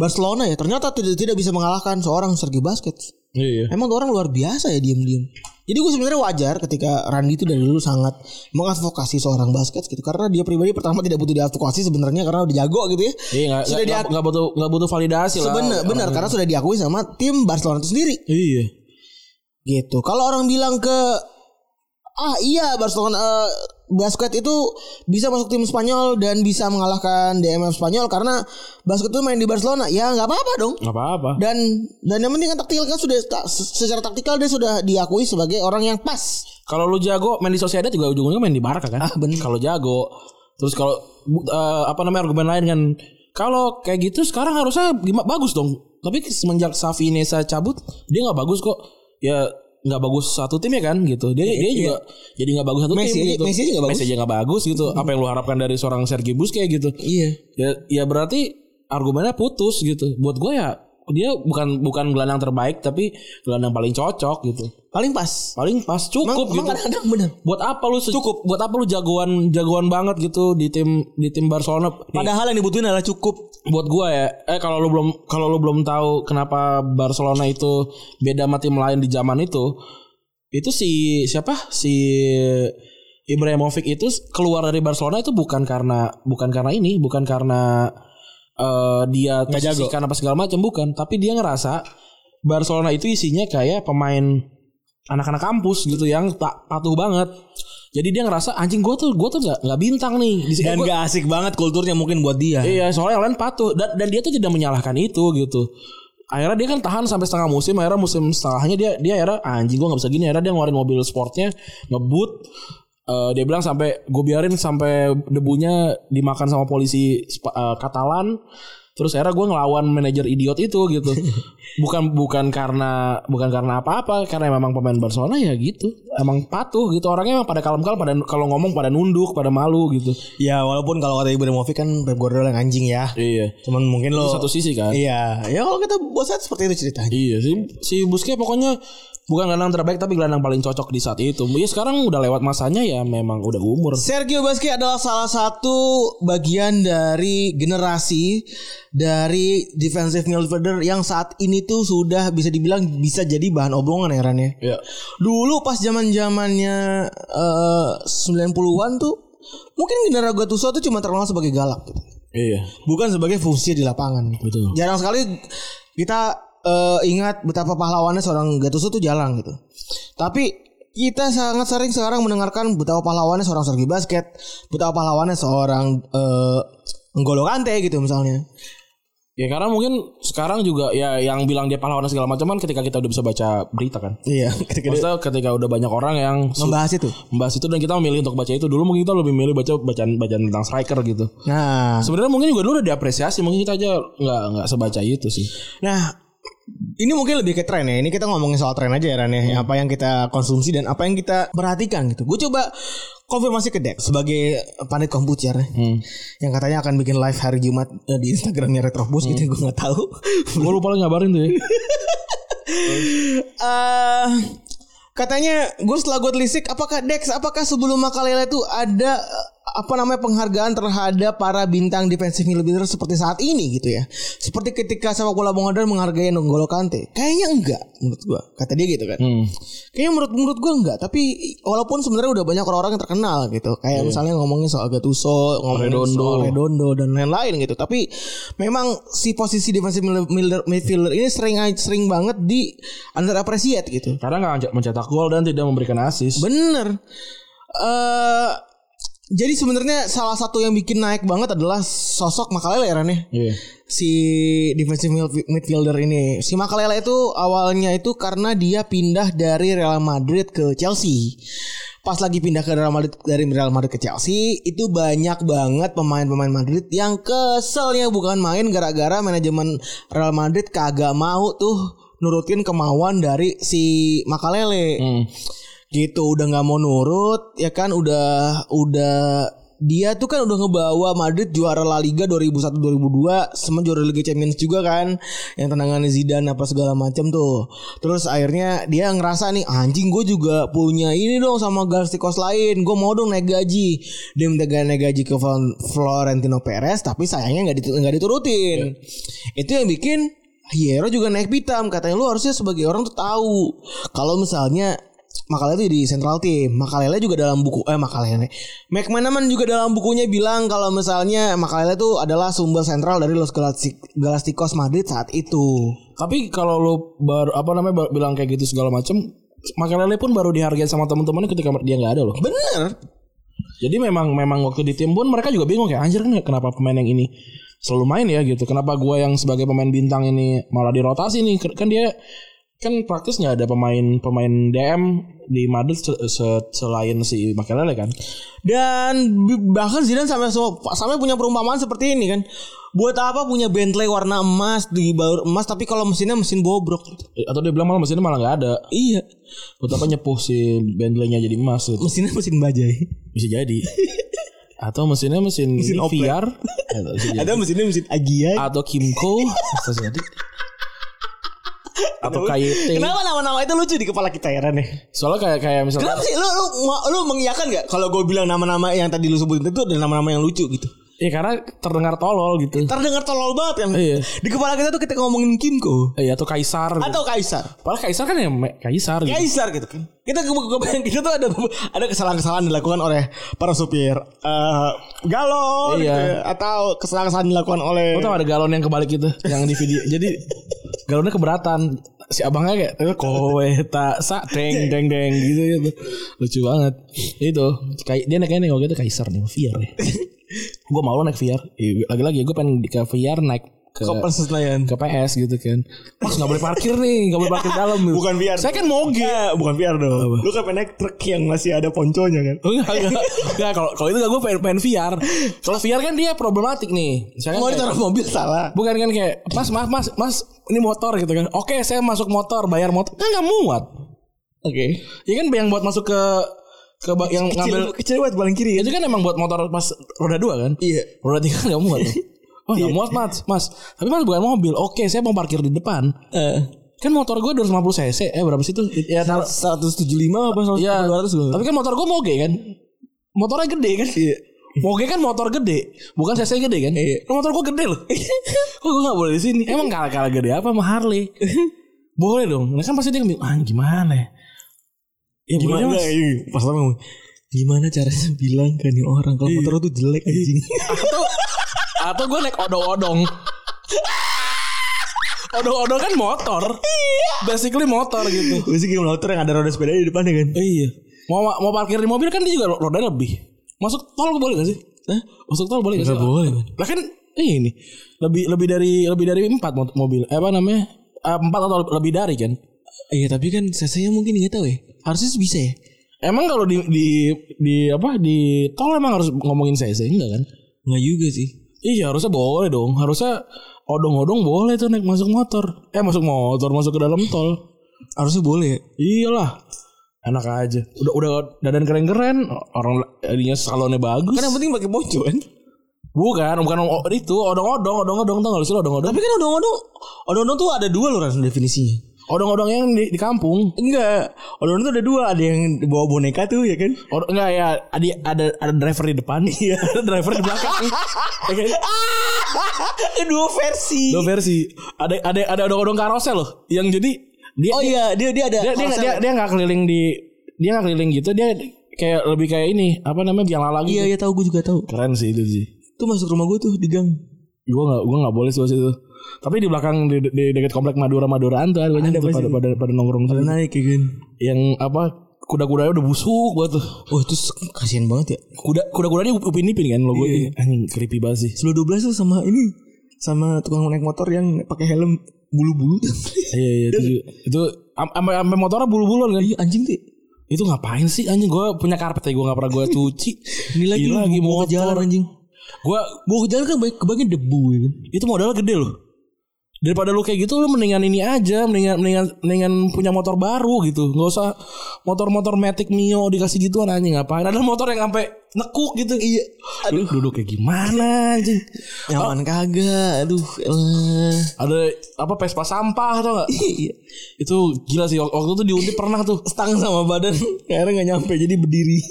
Speaker 3: Barcelona ya. Ternyata tidak tidak bisa mengalahkan seorang Sergio Busquets.
Speaker 2: iya. iya.
Speaker 3: Emang tuh orang luar biasa ya diam-diam. Jadi gue sebenarnya wajar ketika Randy itu dari dulu sangat mengadvokasi seorang basket gitu karena dia pribadi pertama tidak butuh diadvokasi sebenarnya karena udah jago gitu ya.
Speaker 2: Iya nggak
Speaker 3: Sudah
Speaker 2: nggak-
Speaker 3: diak-
Speaker 2: nggak butuh nggak butuh validasi lah.
Speaker 3: Sebenar benar karena sudah diakui sama tim Barcelona itu sendiri
Speaker 2: Iya.
Speaker 3: gitu. Kalau orang bilang ke ah iya Barcelona eh, basket itu bisa masuk tim Spanyol dan bisa mengalahkan DMF Spanyol karena basket itu main di Barcelona ya nggak apa-apa dong.
Speaker 2: Nggak apa-apa.
Speaker 3: Dan dan yang penting kan taktikal kan sudah ta- secara taktikal dia sudah diakui sebagai orang yang pas.
Speaker 2: Kalau lu jago main di Sociedad juga ujung-ujungnya main di Barca kan?
Speaker 3: Ah, bener.
Speaker 2: Kalau jago. Terus kalau bu- eh, apa namanya argumen lain kan kalau kayak gitu sekarang harusnya gimana bagus dong. Tapi semenjak Xavi Nesa cabut, dia nggak bagus kok. Ya nggak bagus satu tim ya kan gitu. Dia dia juga jadi nggak bagus satu
Speaker 3: Iya, Messi
Speaker 2: tim
Speaker 3: aja-
Speaker 2: gitu.
Speaker 3: Messi aja nggak bagus. Hmm.
Speaker 2: Messi aja nggak bagus gitu. Apa yang lu harapkan dari seorang Sergi Busquets gitu?
Speaker 3: Iya.
Speaker 2: Ya ya berarti argumennya putus gitu. Buat gue ya dia bukan bukan gelandang terbaik tapi gelandang paling cocok gitu.
Speaker 3: Paling pas.
Speaker 2: Paling pas cukup
Speaker 3: Emang- emang
Speaker 2: gitu.
Speaker 3: kadang-kadang bener.
Speaker 2: Buat apa lu cukup? Buat apa lu jagoan jagoan banget gitu di tim di tim Barcelona? Nih,
Speaker 1: Padahal yang dibutuhin adalah cukup.
Speaker 2: buat gua ya eh kalau lu belum kalau lu belum tahu kenapa Barcelona itu beda sama tim lain di zaman itu itu si siapa si Ibrahimovic itu keluar dari Barcelona itu bukan karena bukan karena ini bukan karena eh, dia
Speaker 1: jago.
Speaker 2: tersisihkan apa segala macam bukan tapi dia ngerasa Barcelona itu isinya kayak pemain anak-anak kampus gitu yang tak patuh banget jadi dia ngerasa anjing gua tuh gua tuh nggak nggak bintang nih di sini
Speaker 1: Dan
Speaker 2: gua-
Speaker 1: gak asik banget kulturnya mungkin buat dia.
Speaker 2: Iya, soalnya yang lain patuh dan, dan dia tuh tidak menyalahkan itu gitu. Akhirnya dia kan tahan sampai setengah musim, akhirnya musim setengahnya dia dia akhirnya "Ah, anjing gua nggak bisa gini, akhirnya dia ngeluarin mobil sportnya, ngebut. Eh, dia bilang sampai gue biarin sampai debunya dimakan sama polisi Spa- eh, Katalan. Terus akhirnya gue ngelawan manajer idiot itu gitu. bukan bukan karena bukan karena apa-apa, karena memang pemain Barcelona ya gitu. Emang patuh gitu orangnya emang pada kalem-kalem pada kalau ngomong pada nunduk, pada malu gitu.
Speaker 1: Ya walaupun kalau kata Ibrahimovic kan Pep Guardiola yang anjing ya.
Speaker 2: Iya.
Speaker 1: Cuman mungkin
Speaker 2: Di
Speaker 1: lo
Speaker 2: satu sisi kan.
Speaker 1: Iya, ya kalau kita bosan seperti itu ceritanya.
Speaker 2: Iya si si Busquets pokoknya bukan gelandang terbaik tapi gelandang paling cocok di saat itu. Ya sekarang udah lewat masanya ya memang udah umur.
Speaker 3: Sergio Busquets adalah salah satu bagian dari generasi dari defensive midfielder yang saat ini tuh sudah bisa dibilang bisa jadi bahan obrongan ya Ran ya.
Speaker 2: Ya.
Speaker 3: Dulu pas zaman-zamannya eh, 90-an tuh mungkin Gennaro Gattuso tuh cuma terkenal sebagai galak gitu.
Speaker 2: Iya.
Speaker 3: Bukan sebagai fungsi di lapangan.
Speaker 2: Betul.
Speaker 3: Jarang sekali kita eh, ingat betapa pahlawannya seorang Gattuso tuh jarang gitu. Tapi kita sangat sering sekarang mendengarkan betapa pahlawannya seorang Sergi Basket, betapa pahlawannya seorang eh N'Golo Kante gitu misalnya.
Speaker 2: Ya karena mungkin sekarang juga ya yang bilang dia pahlawan dan segala macam kan ketika kita udah bisa baca berita kan.
Speaker 3: Iya, ketika
Speaker 2: Maksudnya ketika udah banyak orang yang su-
Speaker 3: membahas itu.
Speaker 2: membahas itu dan kita memilih untuk baca itu dulu mungkin kita lebih milih baca bacaan bacaan tentang striker gitu.
Speaker 3: Nah,
Speaker 2: Sebenarnya mungkin juga dulu udah diapresiasi mungkin kita aja nggak nggak sebaca itu sih.
Speaker 3: Nah, ini mungkin lebih ke tren ya. Ini kita ngomongin soal tren aja ya Ran ya. Apa yang kita konsumsi dan apa yang kita perhatikan gitu. Gue coba konfirmasi ke Dex sebagai pandit komputer ya. yang katanya akan bikin live hari Jumat eh, di Instagramnya Retrobus gitu. Gue nggak tahu.
Speaker 2: Gue lupa lagi ngabarin tuh ya.
Speaker 3: Eh, katanya gue setelah gue telisik, apakah Dex, apakah sebelum Makalele itu ada eh, apa namanya penghargaan terhadap para bintang defensive midfielder seperti saat ini gitu ya? Seperti ketika sepak bola modern menghargai N'Golo Kante, kayaknya enggak menurut gue. Kata dia gitu kan.
Speaker 2: Hmm.
Speaker 3: Kayaknya menurut menurut gue enggak, tapi walaupun sebenarnya udah banyak orang-orang yang terkenal gitu. Kayak misalnya ngomongin soal Gattuso, ngomongin
Speaker 2: Redondo.
Speaker 3: soal Redondo dan lain-lain gitu. Tapi memang si posisi defensive midfielder, midfielder ini sering sering banget di under appreciate gitu.
Speaker 2: Karena nggak mencetak gol dan tidak memberikan assist.
Speaker 3: Bener. eh jadi sebenarnya salah satu yang bikin naik banget adalah sosok Makalele ya Ran, ya?
Speaker 2: Iya.
Speaker 3: si defensive midf- midfielder ini. Si Makalele itu awalnya itu karena dia pindah dari Real Madrid ke Chelsea. Pas lagi pindah ke Real Madrid dari Real Madrid ke Chelsea, itu banyak banget pemain-pemain Madrid yang keselnya bukan main gara-gara manajemen Real Madrid kagak mau tuh nurutin kemauan dari si Makalele
Speaker 2: Hmm.
Speaker 3: gitu udah nggak mau nurut ya kan udah udah dia tuh kan udah ngebawa Madrid juara La Liga 2001-2002 sama juara Liga Champions juga kan yang tendangan Zidane apa segala macam tuh terus akhirnya dia ngerasa nih anjing gue juga punya ini dong sama Galstikos lain gue mau dong naik gaji dia minta ga- naik gaji ke Val- Florentino Perez tapi sayangnya nggak ditu- nggak diturutin itu yang bikin Hierro juga naik pitam katanya lu harusnya sebagai orang tuh tahu kalau misalnya Makalele itu di Central Team. Makalele juga dalam buku eh Makalele. McManaman juga dalam bukunya bilang kalau misalnya Makalele itu adalah sumber sentral dari Los Galactic- Galacticos Madrid saat itu.
Speaker 2: Tapi kalau lo baru apa namanya ba- bilang kayak gitu segala macem Makalele pun baru dihargai sama teman-temannya ketika dia nggak ada loh.
Speaker 3: Bener.
Speaker 2: Jadi memang memang waktu di tim pun mereka juga bingung kayak anjir kan kenapa pemain yang ini selalu main ya gitu. Kenapa gua yang sebagai pemain bintang ini malah dirotasi nih? Kan dia kan praktis nggak ada pemain pemain DM di Madrid se- se- selain si Makalele kan.
Speaker 3: Dan bi- bahkan Zidane sampai sampai punya perumpamaan seperti ini kan. Buat apa punya Bentley warna emas di baur emas tapi kalau mesinnya mesin bobrok.
Speaker 2: Eh, Atau dia bilang malah mesinnya malah nggak ada.
Speaker 3: Iya,
Speaker 2: Betapa nyepuh si Bentley-nya jadi emas gitu.
Speaker 3: mesinnya mesin bajai.
Speaker 2: Bisa jadi. atau mesinnya mesin,
Speaker 3: Mesin
Speaker 2: ini,
Speaker 3: oprek.
Speaker 2: VR atau, mesin jadi.
Speaker 3: Ada mesinnya mesin Agia.
Speaker 2: atau Kimco atau jadi atau KYT
Speaker 3: Kenapa nama-nama itu lucu di kepala kita ya Ren? ya?
Speaker 2: soalnya kayak kayak misalnya
Speaker 3: Kenapa sih lu lu lu mengiyakan gak kalau gue bilang nama-nama yang tadi lu sebutin itu adalah nama-nama yang lucu gitu.
Speaker 2: ya karena terdengar tolol gitu
Speaker 3: Terdengar tolol banget yang
Speaker 2: Iya.
Speaker 3: di kepala kita tuh kita ngomongin Kimco
Speaker 2: Eh, atau Kaisar gitu.
Speaker 3: atau Kaisar.
Speaker 2: Padahal Kaisar kan ya me- Kaisar gitu.
Speaker 3: Kaisar gitu kan. Kita ke kebayang kita gitu tuh ada ada kesalahan-kesalahan dilakukan oleh para supir eh
Speaker 2: Iya.
Speaker 3: galon gitu ya. atau kesalahan-kesalahan dilakukan oleh
Speaker 2: Lo tau ada galon yang kebalik itu Yang di video Jadi galonnya keberatan Si abangnya kayak eh, Kowe tak sa Deng deng deng gitu gitu Lucu banget Itu kayak Dia naiknya nih Kalau gitu Kaisar nih VR ya Gue mau naik VR Ih, Lagi-lagi gue pengen ke VR naik ke
Speaker 3: Koper Senayan.
Speaker 2: ke PS gitu kan Mas gak boleh parkir nih Gak boleh parkir dalam
Speaker 3: Bukan VR.
Speaker 2: Saya kan moge
Speaker 3: Eh, bukan VR dong. Lu kan pengen naik truk yang masih ada ponconya kan.
Speaker 2: Enggak, enggak. Enggak, kalau kalau itu gak gue pengen, pengen VR. Kalau VR kan dia problematik nih. Misalkan
Speaker 3: Mau
Speaker 2: kayak-
Speaker 3: ditaruh mobil salah.
Speaker 2: Bukan kan kayak Mas mas mas mas ini motor gitu kan Oke saya masuk motor bayar motor Kan gak muat
Speaker 3: Oke.
Speaker 2: Ya kan yang buat masuk ke ke ba- yang ngambil
Speaker 3: Kecil, kecil banget paling kiri ya.
Speaker 2: Itu kan emang buat motor pas roda dua kan
Speaker 3: Iya.
Speaker 2: Roda tiga kan gak muat tuh. Wah gak muat mas Mas Tapi mas bukan mobil Oke saya mau parkir di depan
Speaker 3: Eh,
Speaker 2: Kan motor gue 250 cc Eh berapa sih itu Ya taruh
Speaker 3: 175 apa 100,
Speaker 2: Iya
Speaker 3: 200 gua.
Speaker 2: Tapi kan motor gue moge kan Motornya gede kan Moge kan motor gede, bukan cc gede kan? Kan Motor gue gede loh. Kok gue gak boleh di sini? Emang kalah kalah gede apa sama Harley? boleh dong. Nah kan pasti dia ngomong, ah gimana ya? Ya
Speaker 3: gimana
Speaker 2: boleh, Mas.
Speaker 3: iya, pas Iya. lama ngomong, gimana caranya bilang ke nih orang kalau motor lu tuh jelek anjing
Speaker 2: Atau atau gue naik odong-odong. Odong-odong kan motor. Iya. Basically motor gitu.
Speaker 3: gue sih kayak motor yang ada roda sepeda di depan ya kan
Speaker 2: Iya. Mau mau parkir di mobil kan dia juga roda lebih. Masuk tol boleh gak sih? Hah? Masuk tol boleh gak sih?
Speaker 3: boleh
Speaker 2: Lah kan ini lebih lebih dari lebih dari empat mot- mobil. Eh, apa namanya? Eh, Empat atau lebih dari kan?
Speaker 3: iya tapi kan cc mungkin nggak tahu ya harusnya bisa ya
Speaker 2: Emang kalau di di di apa di tol emang harus ngomongin CC enggak kan?
Speaker 3: nggak juga sih
Speaker 2: Iya harusnya boleh dong. Harusnya odong-odong boleh tuh naik masuk motor. Eh masuk motor masuk ke dalam tol.
Speaker 3: harusnya boleh ya
Speaker 2: Iyalah. Enak aja. Udah udah dadan keren-keren, orang adinya salonnya bagus.
Speaker 3: kan yang penting pakai ponco kan
Speaker 2: bukan, bukan o- itu odong-odong, odong-odong tau gak sih lo odong-odong?
Speaker 3: tapi kan odong-odong odong-odong tuh ada dua loh Ran, definisinya
Speaker 2: Odong-odong yang di, di kampung.
Speaker 3: enggak odong-odong tuh ada dua ada yang bawa boneka tuh ya kan
Speaker 2: Or, enggak ya, ada ada ada driver di depan, iya, ada driver di belakang. Ya kan?
Speaker 3: Eh, dua versi
Speaker 2: Dua versi. Ada ada ada odong-odong karosel loh. Yang jadi dia
Speaker 3: oh iya dia dia ada
Speaker 2: dia dia dia, dia nggak keliling di dia nggak keliling gitu, dia kayak lebih kayak ini, apa namanya? Biang lala gitu.
Speaker 3: iya iya tahu gue juga tahu
Speaker 2: Keren sih itu sih.
Speaker 3: tuh masuk rumah gue tuh di gang
Speaker 2: Gua nggak gua nggak boleh sih waktu itu. Tapi di belakang di, di dekat komplek Madura Maduraan tuh ada banyak tuh pada, pada pada nongkrong tuh.
Speaker 3: naik ya kan
Speaker 2: Yang apa kuda-kudanya udah busuk banget tuh.
Speaker 3: oh terus kasihan banget ya
Speaker 2: Kuda kuda-kudanya upin ipin kan
Speaker 3: Iya.
Speaker 2: logo anjing creepy banget sih.
Speaker 3: Sebelah 12 tuh sama ini sama tukang naik motor yang pakai helm bulu-bulu.
Speaker 2: Iya iya itu juga. itu am- sampai sampai motornya bulu-buluan kan.
Speaker 3: Iya anjing tuh.
Speaker 2: Itu ngapain sih anjing gua punya karpet ya gua nggak pernah gua cuci.
Speaker 3: Ini lagi
Speaker 2: Gila,
Speaker 3: mau
Speaker 2: lagi
Speaker 3: mau ke jalan
Speaker 2: motor.
Speaker 3: anjing.
Speaker 2: Gua
Speaker 3: Mau ke jalan kan banyak kebanyakan debu ya kan.
Speaker 2: itu modalnya gede loh. Daripada lu kayak gitu lu mendingan ini aja, mendingan mendingan mendingan punya motor baru gitu. nggak usah motor-motor Matic Mio dikasih gituan anjing ngapain? Ada motor yang sampai nekuk gitu. Iya. Aduh, duduk kayak gimana anjing.
Speaker 3: Nyaman kagak. Aduh. elah.
Speaker 2: Ada apa Vespa sampah atau enggak?
Speaker 3: Iya.
Speaker 2: itu gila sih waktu itu di Undip pernah tuh.
Speaker 3: Stang sama badan akhirnya nggak nyampe jadi berdiri.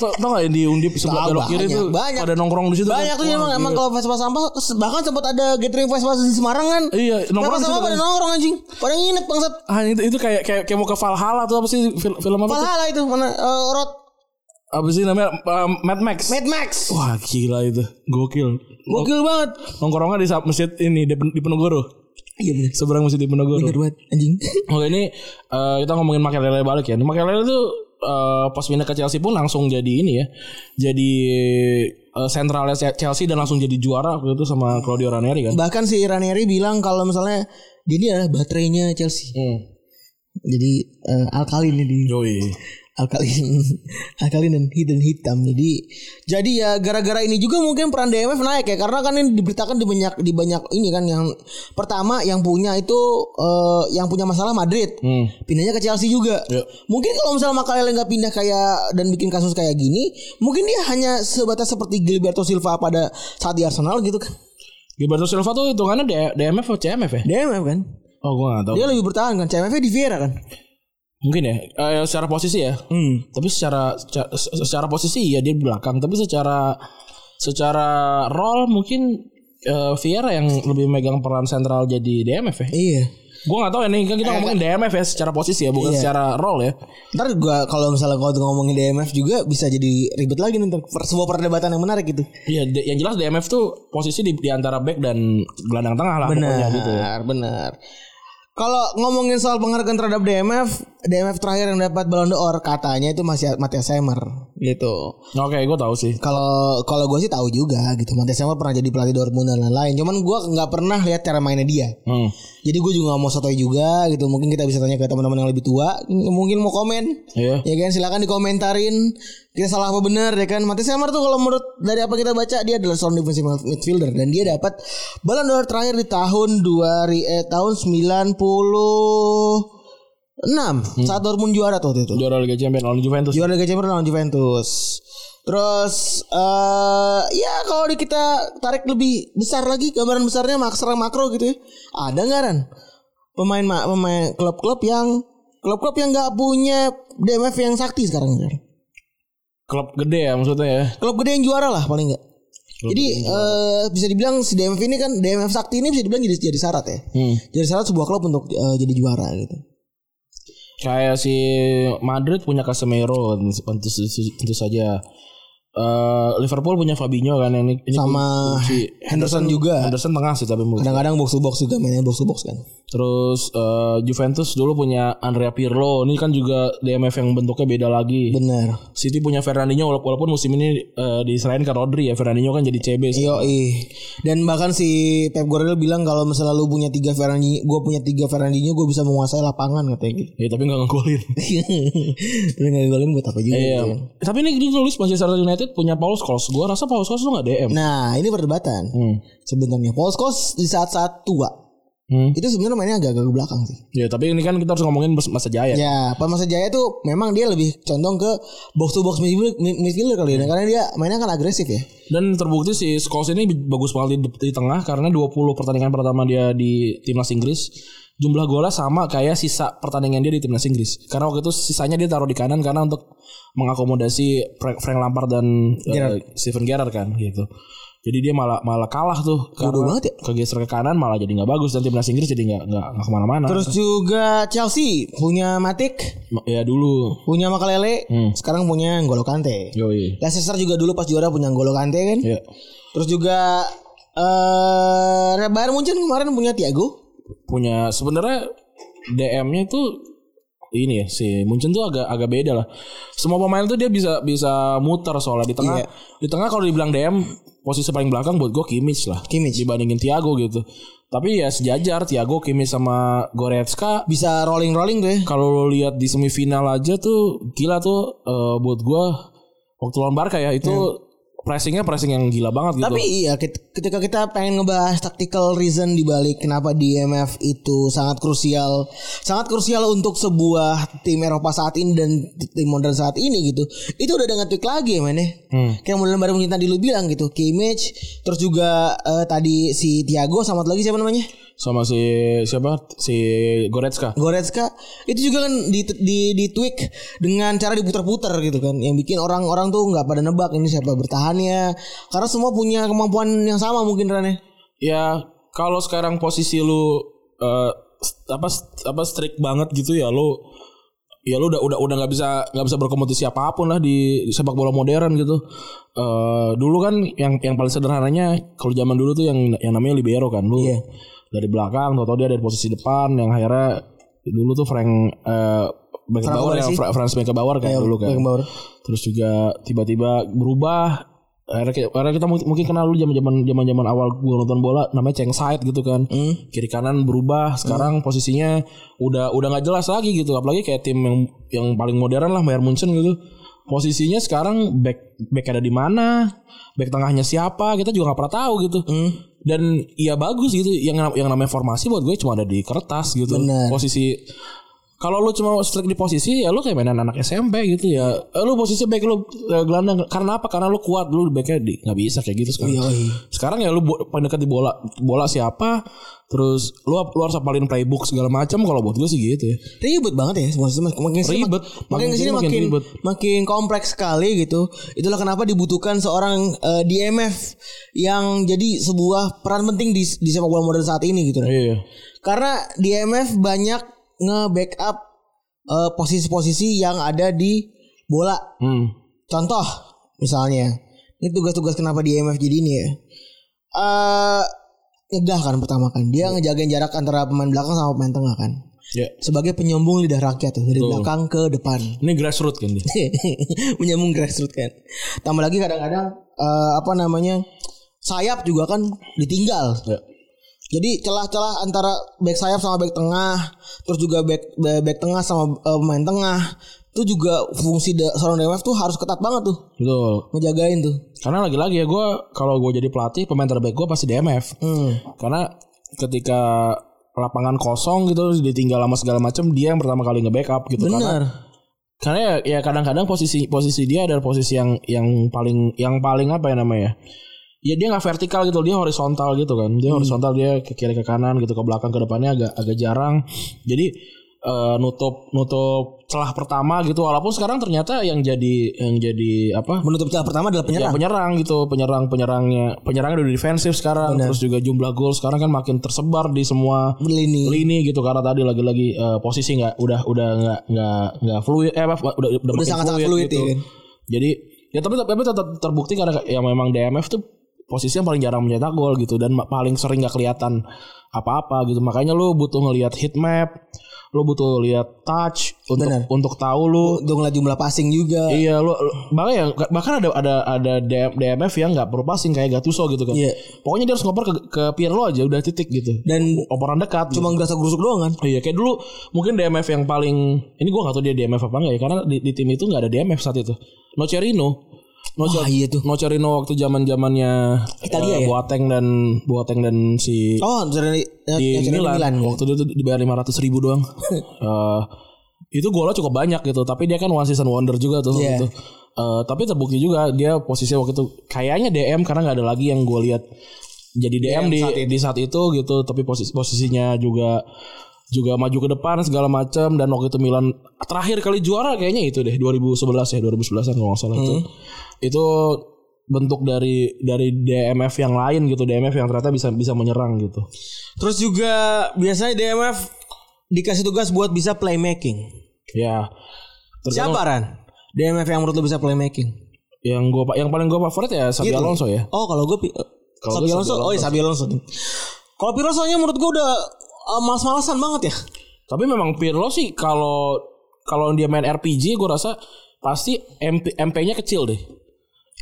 Speaker 2: Tau, tau gak yang di Undip sebelah
Speaker 3: Tahu,
Speaker 2: belok kiri
Speaker 3: banyak,
Speaker 2: tuh
Speaker 3: banyak.
Speaker 2: pada nongkrong di situ.
Speaker 3: Banyak tuh
Speaker 2: Wah,
Speaker 3: emang emang
Speaker 2: gila.
Speaker 3: kalau Vespa sampah bahkan sempat ada gathering Vespa di Semarang kan.
Speaker 2: Iya, nongkrong
Speaker 3: Nongkrong
Speaker 2: di situ.
Speaker 3: sama pada
Speaker 2: kan.
Speaker 3: nongkrong anjing. Pada nginep bangsat.
Speaker 2: Ah, itu, itu kayak, kayak kayak mau ke Valhalla tuh apa sih film, film apa tuh?
Speaker 3: Valhalla itu mana eh, Road
Speaker 2: Apa sih namanya Um, Mad Max.
Speaker 3: Mad Max.
Speaker 2: Wah, gila itu. Gokil.
Speaker 3: Gokil banget.
Speaker 2: Nongkrongnya di sa- masjid ini di, Pen- di Penogoro.
Speaker 3: Iya bener.
Speaker 2: Seberang masjid di Penogoro.
Speaker 3: Bener banget anjing.
Speaker 2: Oke ini eh, kita ngomongin Makelele balik ya. Makelele tuh eh, pas pindah ke Chelsea pun langsung jadi ini ya. Jadi eh, sentralnya Chelsea dan langsung jadi juara waktu itu sama Claudio Ranieri kan.
Speaker 4: Bahkan si Ranieri bilang kalau misalnya dia ini adalah baterainya Chelsea.
Speaker 2: Hmm.
Speaker 4: Jadi eh, alkalin ini di
Speaker 2: Yoi.
Speaker 3: alkalin alkalin dan hidden hitam jadi jadi ya gara-gara ini juga mungkin peran DMF naik ya karena kan ini diberitakan di banyak di banyak ini kan yang pertama yang punya itu eh, yang punya masalah Madrid pindahnya ke Chelsea juga mungkin kalau misalnya Makalele nggak pindah kayak dan bikin kasus kayak gini mungkin dia hanya sebatas seperti Gilberto Silva pada saat di Arsenal gitu kan
Speaker 2: Gilberto Silva tuh hitungannya D- DMF atau CMF ya?
Speaker 3: DMF kan
Speaker 2: Oh gue gak tau
Speaker 3: dia lebih bertahan kan CMF -nya di Vieira kan
Speaker 2: Mungkin ya eh, Secara posisi ya Tapi secara secara- Secara posisi ya dia di belakang Tapi secara Secara role mungkin eh, Vieira yang lebih megang peran sentral jadi DMF ya
Speaker 3: iya
Speaker 2: Gue gak tau ya nih kan kita ngomongin DMF ya secara posisi ya Bukan secara role ya
Speaker 3: Ntar gua kalau misalnya kalau ngomongin DMF juga bisa jadi ribet lagi nih ntar Per- sebuah perdebatan yang menarik gitu.
Speaker 2: Iya de- yang jelas DMF tuh posisi di, di antara back dan gelandang tengah lah pokoknya
Speaker 3: Benar,
Speaker 2: gitu
Speaker 3: benar. Kalau ngomongin soal penghargaan terhadap DMF, DMF terakhir yang dapat Ballon d'Or katanya itu masih Matias Seimer gitu.
Speaker 2: Nah, Oke gue tahu sih
Speaker 3: Kalau kalau gue sih tahu juga gitu. Matias Seimer pernah jadi pelatih Dortmund dan lain-lain. Cuman gua nggak pernah lihat cara mainnya dia.
Speaker 2: hmm.
Speaker 3: Jadi gue juga nggak mau sotoy juga gitu. Mungkin kita bisa tanya ke teman-teman yang lebih tua. Mungkin mau komen.
Speaker 2: Iya
Speaker 3: Ya kan silakan dikomentarin kita salah apa benar ya kan. Matias Samar tuh kalau menurut dari apa kita baca dia adalah seorang defensive midfielder dan dia dapat Ballon d'Or terakhir di tahun 2 eh, tahun 90 saat Dortmund juara tuh waktu itu.
Speaker 2: Juara Liga Champions lawan Juventus
Speaker 3: Juara Liga Champions lawan Juventus. Terus eh ya kalau di kita tarik lebih besar lagi gambaran besarnya makro makro gitu ya. Ada nggak Ran? Pemain ma- pemain klub-klub yang klub-klub yang nggak punya DMF yang sakti sekarang Ran.
Speaker 2: Klub gede ya maksudnya ya
Speaker 3: Klub gede yang juara lah paling nggak.
Speaker 2: Klub
Speaker 3: Jadi eh bisa dibilang si DMF ini kan DMF sakti ini bisa dibilang jadi jadi syarat ya.
Speaker 2: hmm.
Speaker 3: Jadi syarat sebuah klub untuk eh, jadi juara gitu.
Speaker 2: Kayak si Madrid punya Casemiro tentu, tentu- tentu saja. Eh, Liverpool punya Fabinho kan yang ini, ini
Speaker 3: Sama
Speaker 2: kunci.
Speaker 3: Henderson juga.
Speaker 2: Henderson tengah sih tapi menurut-
Speaker 3: Kadang-kadang box to box juga mainnya box to box kan.
Speaker 2: Terus eh, Juventus dulu punya Andrea Pirlo. Ini kan juga DMF yang bentuknya beda lagi.
Speaker 3: Bener.
Speaker 2: City punya Fernandinho wala- walaupun musim ini eh, diserahin ke Rodri ya. Fernandinho kan jadi CB. sih.
Speaker 3: Yo Dan bahkan si Pep Guardiola bilang kalau misalnya lu punya tiga Ferrandinho, gue punya tiga Ferrandinho, gue bisa menguasai lapangan katanya gitu.
Speaker 2: Ya, tapi nggak ngegolin.
Speaker 3: Tapi nggak golin buat apa juga.
Speaker 2: Iya.
Speaker 3: gitu kan.
Speaker 2: Tapi ini dia nulis Manchester United punya Paul Scholes. Gua rasa Paul Scholes tuh nggak DM.
Speaker 3: Nah ini perdebatan
Speaker 2: Hmm.
Speaker 3: sebenarnya. Paul Scholes di saat-saat tua
Speaker 2: Hmm.
Speaker 3: itu sebenarnya mainnya agak-agak ke belakang sih.
Speaker 2: Ya, tapi ini kan kita harus ngomongin masa jaya.
Speaker 3: Ya, pada masa jaya tuh memang dia lebih condong ke box to box midfielder midfielder kali
Speaker 2: Hmm.
Speaker 3: ya, karena dia mainnya kan agresif ya.
Speaker 2: Dan terbukti si Scholes ini bagus banget di, di tengah karena 20 pertandingan pertama dia di timnas Inggris jumlah golnya sama kayak sisa pertandingan dia di timnas Inggris. Karena waktu itu sisanya dia taruh di kanan karena untuk mengakomodasi Fra- Frank Lampard dan eh, Steven Gerrard kan gitu. Jadi dia malah malah kalah tuh
Speaker 3: Bodoh
Speaker 2: karena
Speaker 3: banget ya.
Speaker 2: kegeser ke kanan malah jadi nggak bagus dan timnas Inggris jadi nggak nggak nggak kemana-mana.
Speaker 3: Terus juga Chelsea punya Matic,
Speaker 2: Ma- ya dulu.
Speaker 3: punya Makalele,
Speaker 2: Hmm.
Speaker 3: sekarang punya N'Golo Kante.
Speaker 2: Yoi.
Speaker 3: Leicester juga dulu pas juara punya N'Golo Kante kan.
Speaker 2: Ya.
Speaker 3: Terus juga eh Bayern Munchen kemarin punya Thiago.
Speaker 2: punya sebenarnya DM-nya itu ini ya si Munchen tuh agak agak beda lah. Semua pemain tuh dia bisa bisa muter soalnya di tengah.
Speaker 3: Iya.
Speaker 2: Di tengah kalau dibilang DM posisi paling belakang buat gue Kimmich lah.
Speaker 3: Kimmich.
Speaker 2: dibandingin Thiago gitu. Tapi ya sejajar Thiago Kimmich sama Goretzka
Speaker 3: Bisa rolling-rolling tuh ya.
Speaker 2: kalau lo lihat di semifinal aja tuh gila tuh eh, buat gua waktu lawan Barca ya itu pressingnya pressing yang gila banget gitu.
Speaker 3: Iya. Tapi iya ket- ketika kita pengen ngebahas tactical reason di balik kenapa DMF itu sangat krusial, sangat krusial untuk sebuah tim Eropa saat ini dan tim modern saat ini gitu. Itu udah ada ngetik lagi ya men ya. Kayak model baru tadi lu bilang gitu, Kimmich, terus juga eh, tadi si Thiago sama satu lagi siapa namanya?
Speaker 2: sama si siapa si Goretzka.
Speaker 3: Goretzka itu juga kan di di di tweak dengan cara diputar-putar gitu kan yang bikin orang-orang tuh nggak pada nebak ini siapa bertahannya karena semua punya kemampuan yang sama mungkin Rane.
Speaker 2: ya kalau sekarang posisi lu eh, st- apa st- apa strict banget gitu ya lu ya lu udah udah udah nggak bisa nggak bisa berkompetisi apapun lah di, di sepak bola modern gitu. Eh dulu kan yang yang paling sederhananya kalau zaman dulu tuh yang yang namanya libero kan lu
Speaker 3: Iya.
Speaker 2: dari belakang atau dia dari posisi depan yang akhirnya dulu tuh Frank eh Beckenbauer yang
Speaker 3: Frank Iya, Beckenbauer
Speaker 2: Fra- Franz Beckenbauer kan dulu kan.
Speaker 3: Beckenbauer.
Speaker 2: Terus juga tiba-tiba berubah Karena kita, karena kita mungkin mungkin kenal lu zaman zaman zaman zaman awal gue nonton bola namanya ceng side gitu kan
Speaker 3: Hmm.
Speaker 2: kiri kanan berubah sekarang posisinya udah udah nggak jelas lagi gitu apalagi kayak tim yang yang paling modern lah Bayern Munchen gitu posisinya sekarang back back ada di mana back tengahnya siapa kita juga nggak pernah tahu gitu
Speaker 3: Hmm.
Speaker 2: dan ya bagus gitu yang yang namanya formasi buat gue cuma ada di kertas gitu
Speaker 3: Bener.
Speaker 2: posisi kalau lu cuma strike di posisi ya lu kayak mainan anak SMP gitu ya. Eh, lu posisi baik lu eh, gelandang karena apa? Karena lu kuat lu baiknya di nggak bisa kayak gitu
Speaker 3: Iya,
Speaker 2: sekarang. Sekarang ya lu bo- paling dekat di bola bola siapa? Terus lu, lu harus apalin playbook segala macam kalau buat gue sih gitu ya.
Speaker 3: Ribet banget ya maksudnya makin kesini
Speaker 2: Ribet.
Speaker 3: makin
Speaker 2: Makin
Speaker 3: kesini
Speaker 2: kesini makin
Speaker 3: makin
Speaker 2: ribet.
Speaker 3: makin kompleks sekali gitu. Itulah kenapa dibutuhkan seorang eh, DMF yang jadi sebuah peran penting di di sepak bola modern saat ini gitu.
Speaker 2: Iya.
Speaker 3: Karena DMF banyak nge-backup eh, posisi-posisi yang ada di bola.
Speaker 2: Hmm.
Speaker 3: Contoh misalnya, ini tugas-tugas kenapa DMF jadi ini ya. Eh nyegah kan pertama kan. Dia ngejagain jarak antara pemain belakang sama pemain tengah kan.
Speaker 2: Ya.
Speaker 3: Sebagai penyambung lidah rakyat tuh dari belakang ke depan.
Speaker 2: Ini grassroots kan dia.
Speaker 3: Menyambung grassroots kan. Tambah lagi kadang-kadang eh, apa namanya? sayap juga kan ditinggal.
Speaker 2: Ya.
Speaker 3: Jadi celah-celah antara back sayap sama back tengah, terus juga back back, back tengah sama eh, pemain tengah, itu juga fungsi da- seorang DMF tuh harus ketat banget tuh
Speaker 2: Betul.
Speaker 3: ngejagain tuh.
Speaker 2: Karena lagi-lagi ya gue kalau gue jadi pelatih pemain terbaik gue pasti DMF.
Speaker 3: Hmm.
Speaker 2: Karena ketika lapangan kosong gitu ditinggal sama segala macam dia yang pertama kali nge-backup gitu karena
Speaker 3: Bener.
Speaker 2: karena ya, ya kadang-kadang posisi posisi dia adalah posisi yang yang paling yang paling apa ya namanya ya dia nggak vertikal gitu dia horizontal gitu kan dia horizontal dia ke kiri ke kanan gitu ke belakang ke depannya agak agak jarang jadi eh, nutup nutup celah pertama gitu walaupun sekarang ternyata yang jadi yang jadi apa
Speaker 3: Menutup celah pertama adalah
Speaker 2: Ya,
Speaker 3: penyerang.
Speaker 2: penyerang gitu, penyerang penyerangnya, penyerangnya udah defensif sekarang, terus juga jumlah gol sekarang kan makin tersebar di semua
Speaker 3: Lini.
Speaker 2: lini gitu karena tadi lagi-lagi eh, posisi nggak udah udah nggak nggak nggak fluid, eh apa udah udah, makin
Speaker 3: sangat-sangat fluid,
Speaker 2: gitu.
Speaker 3: iya kan?
Speaker 2: Jadi ya tapi tapi tetap terbukti karena ya memang DMF tuh posisi yang paling jarang mencetak gol gitu dan ma- paling sering nggak kelihatan apa-apa gitu. Makanya lu butuh ngelihat heat map, lu butuh lihat touch untuk
Speaker 3: Benar.
Speaker 2: untuk tahu lu
Speaker 3: Untuk ngeliat jumlah passing juga.
Speaker 2: Iya lu, lu- bahkan ya bahkan ada ada ada DM DMF yang nggak perlu passing kayak Gattuso gitu kan.
Speaker 3: Iya.
Speaker 2: Pokoknya dia harus ngoper ke, ke Pirlo aja udah titik gitu.
Speaker 3: Dan
Speaker 2: Operan dekat.
Speaker 3: cuma gerasa gerusuk doang kan.
Speaker 2: gitu. iya kayak dulu mungkin DMF yang paling ini gua nggak tahu dia DMF apa enggak ya karena di, di tim itu nggak ada DMF saat itu. Nocerino. Nocerino
Speaker 3: Wah iya tuh.
Speaker 2: Nocerino waktu zaman zamannya
Speaker 3: Italia ya?
Speaker 2: Boateng dan Boateng dan si
Speaker 3: Oh, dari
Speaker 2: di
Speaker 3: yang
Speaker 2: Milan.
Speaker 3: Milan.
Speaker 2: Waktu itu dibayar lima ratus ribu doang. Eh, itu golnya cukup banyak gitu. Tapi dia kan one season wonder juga tuh.
Speaker 3: Iya.
Speaker 2: Gitu. Eh, tapi terbukti juga dia posisinya waktu itu kayaknya DM karena nggak ada lagi yang gue lihat jadi DM, di
Speaker 3: saat
Speaker 2: di saat itu gitu. Tapi posisi posisinya juga juga maju ke depan segala macam dan waktu itu Milan terakhir kali juara kayaknya itu deh 2011 ya 2011an kalau nggak salah itu
Speaker 3: Hmm.
Speaker 2: itu bentuk dari dari DMF yang lain gitu DMF yang ternyata bisa bisa menyerang gitu
Speaker 3: Terus juga biasanya DMF dikasih tugas buat bisa playmaking.
Speaker 2: Ya. Tergantung
Speaker 3: Siapa Ran? DMF yang menurut lu bisa playmaking?
Speaker 2: yang gua yang paling gua favorit ya Sabi Alonso ya.
Speaker 3: Oh kalau gue
Speaker 2: Kalau
Speaker 3: Sabi
Speaker 2: gua
Speaker 3: Alonso, oh iya Sabi Alonso. Kalau Pirlo soalnya menurut gue udah uh, malas-malasan banget ya.
Speaker 2: Tapi memang Pirlo sih kalau kalau dia main RPG gua rasa pasti MP, MP-nya kecil deh.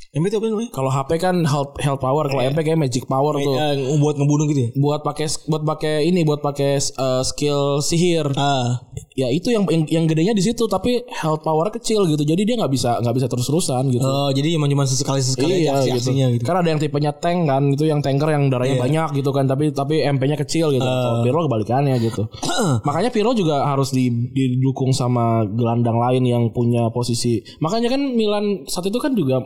Speaker 3: Yang itu apa namanya?
Speaker 2: Kalau HP kan help, help power, kalau MP kayak magic power tuh.
Speaker 3: Eh, buat ngebunuh gitu ya.
Speaker 2: Buat pakai buat pakai ini buat pakai eh, skill sihir.
Speaker 3: Ah,
Speaker 2: Ya itu yang yang, yang gedenya di situ tapi health power kecil gitu. Jadi dia nggak bisa nggak bisa terus-terusan gitu.
Speaker 3: oh, jadi cuma cuma sesekali sesekali
Speaker 2: Iya
Speaker 3: aja
Speaker 2: gitu.
Speaker 3: aksi-aksinya gitu. Iya.
Speaker 2: Karena ada yang tipenya tank kan, itu yang tanker yang darahnya banyak gitu kan, tapi tapi MP-nya kecil
Speaker 3: Eh.
Speaker 2: gitu. Kalau Pirlo kebalikannya gitu.
Speaker 3: Iya.
Speaker 2: Makanya Pirlo juga harus di- didukung sama gelandang lain yang punya posisi. Makanya kan Milan saat itu kan juga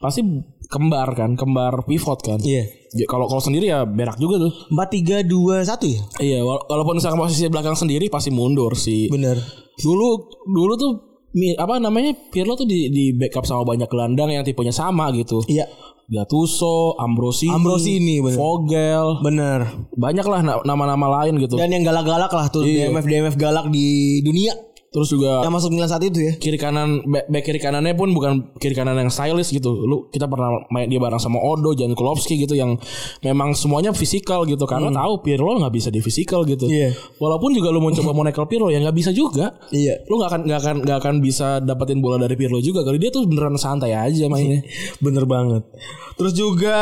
Speaker 2: pasti kembar kan, kembar pivot kan.
Speaker 3: Iya.
Speaker 2: Ya, Kalau kalau sendiri ya berak juga tuh.
Speaker 3: Empat tiga dua satu ya.
Speaker 2: Iya, wala- walaupun misalkan posisi belakang sendiri pasti mundur sih.
Speaker 3: Bener.
Speaker 2: Dulu dulu tuh Mi- apa namanya Pirlo tuh di, di backup sama banyak gelandang yang tipenya sama gitu.
Speaker 3: Iya.
Speaker 2: Gattuso, Ambrosini,
Speaker 3: Ambrosini, bener.
Speaker 2: Vogel,
Speaker 3: Bener.
Speaker 2: banyak lah na- nama-nama lain gitu.
Speaker 3: Iya. Dan yang galak-galak lah tuh DMF DMF galak di dunia.
Speaker 2: Terus juga
Speaker 3: Yang masuk Milan saat itu ya.
Speaker 2: kiri kanan back, back kiri kanannya pun bukan kiri kanan yang stylish gitu. Lu kita pernah main dia bareng sama Odo, Jan Kulowski gitu yang memang semuanya fisikal gitu karena tahu Pirlo nggak bisa di fisikal gitu.
Speaker 3: Hmm. Iya.
Speaker 2: Walaupun juga lu mau coba mau nekel Pirlo ya nggak bisa juga.
Speaker 3: Iya.
Speaker 2: Lu nggak akan nggak akan nggak akan bisa dapetin bola dari Pirlo juga kali dia tuh beneran santai aja mainnya.
Speaker 3: Bener banget. Terus juga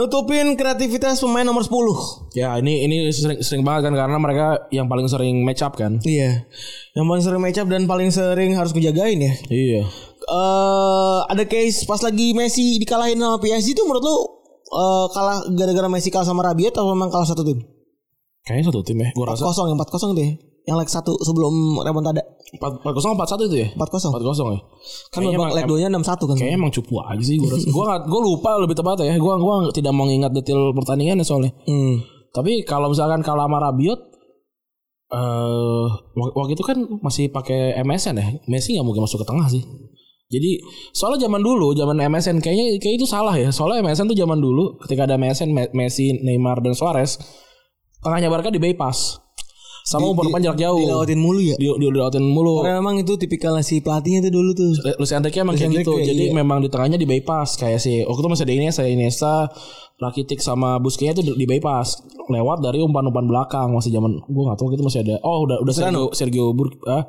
Speaker 3: nutupin kreativitas pemain nomor 10.
Speaker 2: ya ini ini sering sering banget kan karena mereka yang paling sering match up kan.
Speaker 3: Iya. Yang paling sering match up dan paling sering harus ngejagain ya.
Speaker 2: Iya.
Speaker 3: eh ada case pas lagi Messi dikalahin sama PSG itu menurut lu eh, kalah gara-gara Messi kalah sama Rabiot atau memang kalah satu tim?
Speaker 2: Kayaknya satu tim ya. Gua rasa
Speaker 3: 4-0 yang 4-0 itu ya. Yang leg 1 sebelum remontada
Speaker 2: 4-0 4-1 itu ya? 4-0
Speaker 3: 4-0.
Speaker 2: ya.
Speaker 3: Kan
Speaker 2: Kayaknya
Speaker 3: babak
Speaker 2: emang-
Speaker 3: leg 2-nya 6-1 kan.
Speaker 2: Kayaknya emang cupu aja sih gue rasa. gue gue lupa lebih tepatnya ya. Gue gua tidak mau ingat detail pertandingannya soalnya.
Speaker 3: Hmm.
Speaker 2: Tapi kalau misalkan kalau sama Rabiot eh wak- waktu itu kan masih pakai MSN ya. Messi nggak mungkin masuk ke tengah sih. Jadi soalnya zaman dulu, zaman MSN kayaknya kayak itu salah ya. Soalnya MSN tuh zaman dulu ketika ada MSN Me- Messi, Neymar dan Suarez tengahnya Barca di bypass sama umpan umpan jarak jauh.
Speaker 3: Dilewatin mulu ya.
Speaker 2: Di, di, dilewatin mulu.
Speaker 3: Karena memang itu tipikalnya si pelatihnya tuh dulu tuh.
Speaker 2: Lu- Luis Enrique emang kayak
Speaker 3: Enrique,
Speaker 2: gitu. Jadi
Speaker 3: iya.
Speaker 2: memang di tengahnya di bypass kayak si waktu itu masih ada Iniesta, Iniesta, Rakitic sama Busquets itu di bypass lewat dari umpan-umpan belakang masih zaman gua gak tahu gitu masih ada. Oh, udah udah Sergio Sergio Bur ah,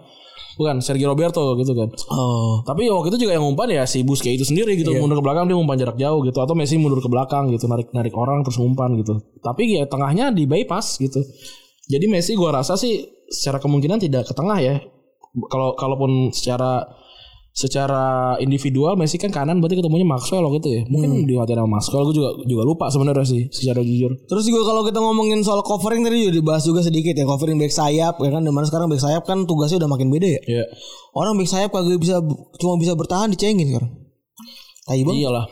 Speaker 2: bukan Sergio Roberto gitu kan.
Speaker 3: Oh.
Speaker 2: Tapi waktu itu juga yang umpan ya si Busquets itu sendiri gitu mundur ke belakang dia umpan jarak jauh gitu atau Messi mundur ke belakang gitu narik-narik orang terus umpan gitu. Tapi ya tengahnya di bypass gitu. Jadi Messi gua rasa sih secara kemungkinan tidak ke tengah ya. Kalau kalaupun secara secara individual Messi kan kanan berarti ketemunya Maxwell gitu ya. Mungkin di hati sama Maxwell gue juga juga lupa sebenarnya sih secara jujur.
Speaker 3: Terus juga kalau kita ngomongin soal covering tadi juga dibahas juga sedikit ya covering back sayap ya kan dimana sekarang back sayap kan tugasnya udah makin beda ya.
Speaker 2: Ya.
Speaker 3: Orang back sayap kagak bisa cuma bisa bertahan dicengin sekarang. Tai banget.
Speaker 2: Iyalah.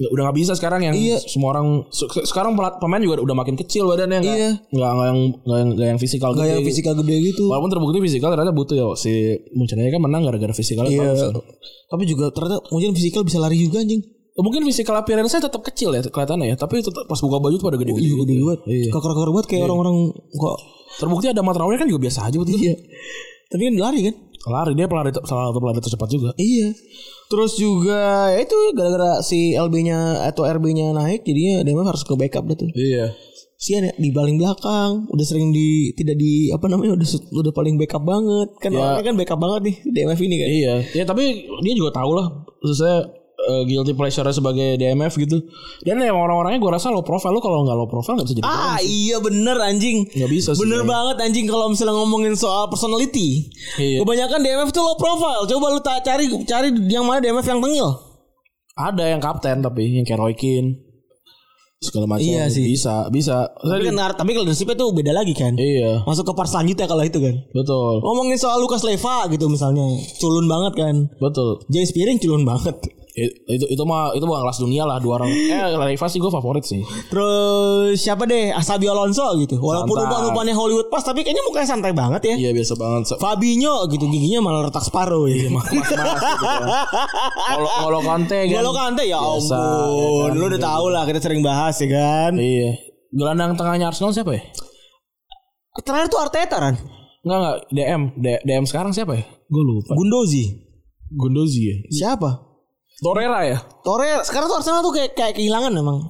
Speaker 2: Ya, udah nggak bisa sekarang yang
Speaker 3: Iya.
Speaker 2: semua orang se- se- sekarang pelat- pemain juga udah makin kecil badannya nggak
Speaker 3: Iya.
Speaker 2: nggak nggak yang nggak yang, nggak yang fisikal
Speaker 3: Gak yang
Speaker 2: gitu.
Speaker 3: fisikal gede gitu.
Speaker 2: Walaupun terbukti fisikal ternyata butuh ya si Munchen kan menang gara-gara fisikal.
Speaker 3: Iya. Tapi juga ternyata mungkin fisikal bisa lari juga anjing.
Speaker 2: Mungkin fisikal appearance tetap kecil ya kelihatannya ya, tapi tetap pas buka baju tuh pada gede-gede.
Speaker 3: Iya gede banget.
Speaker 2: Iya.
Speaker 3: Keker-keker banget kayak orang-orang kok.
Speaker 2: Terbukti ada matraulnya kan juga biasa aja betul.
Speaker 3: Iya. Tapi kan lari kan?
Speaker 2: Lari dia pelari salah satu pelari tercepat juga.
Speaker 3: Iya. Terus juga ya itu gara-gara si LB-nya atau RB-nya naik jadinya Demar harus ke backup dah tuh.
Speaker 2: Iya.
Speaker 3: Sian ya di paling belakang udah sering di tidak di apa namanya udah se- udah paling backup banget kan orangnya kan backup banget nih DMF ini kan.
Speaker 2: Iya, ya tapi dia juga tahu lah saya guilty pleasure sebagai DMF gitu. Dan yang orang-orangnya gue rasa low profile lo kalau nggak low profile nggak bisa jadi.
Speaker 3: Ah iya bener anjing.
Speaker 2: Nggak bisa sih.
Speaker 3: Bener banget anjing kalau misalnya ngomongin soal personality.
Speaker 2: Iya.
Speaker 3: Kebanyakan DMF tuh low profile. Coba lu ta- cari cari yang mana DMF yang tengil.
Speaker 2: Ada yang kapten tapi yang kayak Roy Keane segala macam
Speaker 3: Iya sih.
Speaker 2: bisa bisa.
Speaker 3: Tapi kan tapi kalau leadership tuh beda lagi kan.
Speaker 2: Iya,
Speaker 3: Masuk ke part selanjutnya kalau itu kan.
Speaker 2: betul.
Speaker 3: Ngomongin soal Lukas Leva gitu misalnya. Culun banget kan.
Speaker 2: Betul.
Speaker 3: James Piring culun banget.
Speaker 2: I- Itu itu mah itu bukan kelas dunia lah dua orang. Eh Leiva sih gue favorit sih.
Speaker 3: Terus siapa deh? Asabi Alonso gitu. Walaupun
Speaker 2: Santai.
Speaker 3: umpan-umpannya Hollywood pas tapi kayaknya mukanya santai banget ya.
Speaker 2: Iya biasa banget. Se-
Speaker 3: Fabinho gitu giginya malah retak separuh
Speaker 2: Iya,
Speaker 3: ya.
Speaker 2: Kalau kalau Conte kan.
Speaker 3: Golo Kante ya
Speaker 2: Biasa,
Speaker 3: ampun.
Speaker 2: ya kan?
Speaker 3: Lu udah tau lah kita sering bahas ya kan.
Speaker 2: Iya. Gelandang tengahnya Arsenal siapa ya?
Speaker 3: Terakhir tuh Arteta kan.
Speaker 2: Enggak enggak DM D- DM sekarang siapa ya? Gue lupa.
Speaker 3: Gundozi.
Speaker 2: Gundozi ya.
Speaker 3: Siapa?
Speaker 2: Torreira ya.
Speaker 3: Torreira sekarang tuh Arsenal tuh kayak kayak kehilangan emang.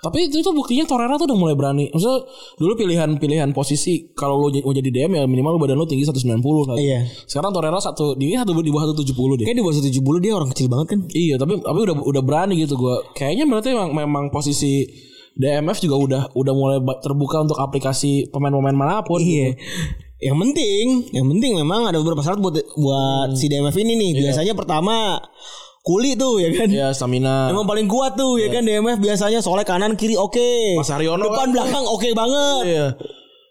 Speaker 2: Tapi itu tuh buktinya Torreira tuh udah mulai berani. Maksudnya dulu pilihan-pilihan posisi kalau lo j- mau jadi DM ya minimal lo badan lo tinggi 190 kali.
Speaker 3: Iya.
Speaker 2: Sekarang Torreira satu di satu di bawah 170 deh.
Speaker 3: Kayak di bawah 170 dia orang kecil banget kan.
Speaker 2: Iya, tapi tapi udah udah berani gitu gua. Kayaknya berarti memang memang posisi DMF juga udah udah mulai ba- terbuka untuk aplikasi pemain-pemain manapun. gitu.
Speaker 3: Iya. Yang penting, yang penting memang ada beberapa syarat buat buat si DMF ini nih. Biasanya pertama kuli tuh ya kan.
Speaker 2: Gitu. Ya stamina.
Speaker 3: Emang paling kuat tuh ya kan DMF biasanya soalnya kanan kiri oke.
Speaker 2: Mas Haryono
Speaker 3: Depan
Speaker 2: kan.
Speaker 3: belakang oke banget.
Speaker 2: Iya.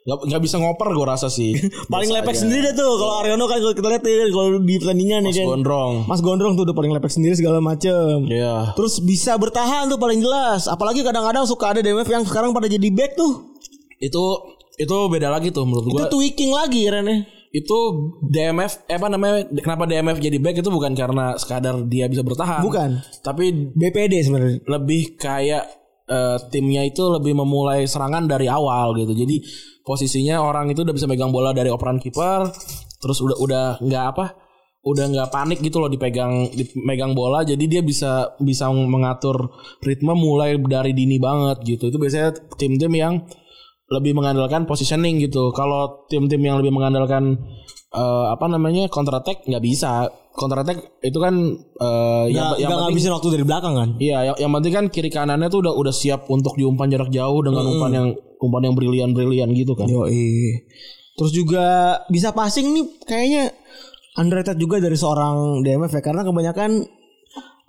Speaker 2: Gak, gak bisa ngoper gua rasa sih.
Speaker 3: Paling lepek sendiri deh tuh kalau Aryono kan kalau kita lihat ya kan, kalau di pertandingan ya
Speaker 2: Mas
Speaker 3: kan.
Speaker 2: Gondrong.
Speaker 3: Mas Gondrong tuh udah paling lepek sendiri segala macem.
Speaker 2: Iya.
Speaker 3: Terus bisa bertahan tuh paling jelas. Apalagi kadang-kadang suka ada DMF yang sekarang pada jadi back tuh.
Speaker 2: Itu itu beda lagi tuh menurut gua.
Speaker 3: Itu tweaking lagi ya. Rene.
Speaker 2: itu DMF eh, apa namanya kenapa DMF jadi back itu bukan karena sekadar dia bisa bertahan
Speaker 3: Bukan.
Speaker 2: tapi
Speaker 3: BPD sebenarnya.
Speaker 2: lebih kayak eh, timnya itu lebih memulai serangan dari awal gitu jadi posisinya orang itu udah bisa megang bola dari operan kiper terus udah udah nggak apa udah nggak panik gitu loh dipegang dipegang bola jadi dia bisa bisa mengatur ritme mulai dari dini banget gitu itu biasanya tim-tim yang lebih mengandalkan positioning gitu kalau tim-tim yang lebih mengandalkan eh, apa namanya counter attack nggak bisa counter attack itu kan eh, yang,
Speaker 3: Gak,
Speaker 2: yang
Speaker 3: gak
Speaker 2: penting-
Speaker 3: ngabisin waktu dari belakang kan
Speaker 2: Iya, yang, yang penting kan kiri kanannya tuh udah udah siap untuk diumpan jarak jauh dengan umpan yang umpan yang brilian-brilian gitu kan.
Speaker 3: Yoi. Terus juga bisa passing nih kayaknya underrated juga dari seorang DMF ya karena kebanyakan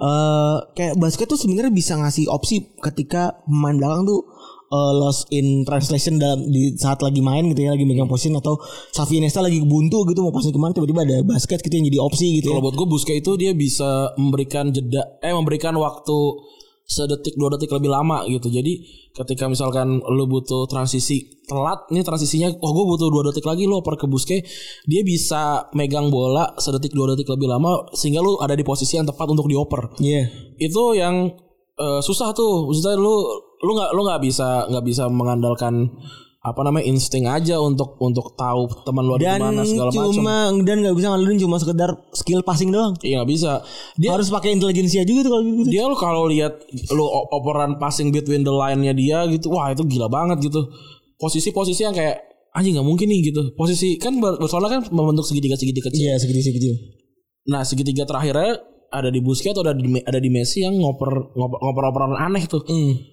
Speaker 3: eh kayak basket tuh sebenarnya bisa ngasih opsi ketika pemain belakang tuh eh, lost in translation dalam di saat lagi main gitu ya lagi megang position atau Xavi Iniesta lagi buntu gitu mau passing kemana tiba-tiba ada basket gitu yang jadi opsi gitu ya.
Speaker 2: Kalau buat gue Busquets itu dia bisa memberikan jeda eh memberikan waktu sedetik dua detik lebih lama gitu. Jadi ketika misalkan lu butuh transisi telat nih transisinya oh gue butuh dua detik lagi lu oper ke Busquets dia bisa megang bola sedetik dua detik lebih lama sehingga lu ada di posisi yang tepat untuk dioper.
Speaker 3: Iya.
Speaker 2: itu yang eh, susah tuh maksudnya lu lu nggak lu nggak bisa nggak bisa mengandalkan apa namanya insting aja untuk untuk tahu teman lu ada di
Speaker 3: Dan
Speaker 2: mana segala macam
Speaker 3: cuma dan nggak bisa ngandelin cuma sekedar skill passing doang.
Speaker 2: iya nggak bisa dia
Speaker 3: Harus pakai intelijensia juga tuh kalau gitu.
Speaker 2: dia lu kalau lihat lu o- operan passing between the line-nya dia gitu wah itu gila banget gitu posisi-posisi yang kayak anjing nggak mungkin nih gitu posisi kan Bar- Barcelona kan membentuk segitiga segitiga kecil
Speaker 3: Iya, segede-segede.
Speaker 2: Nah segitiga terakhirnya ada di Busquets atau ada di ada di Messi yang ngoper ngoper ngoper operan aneh tuh.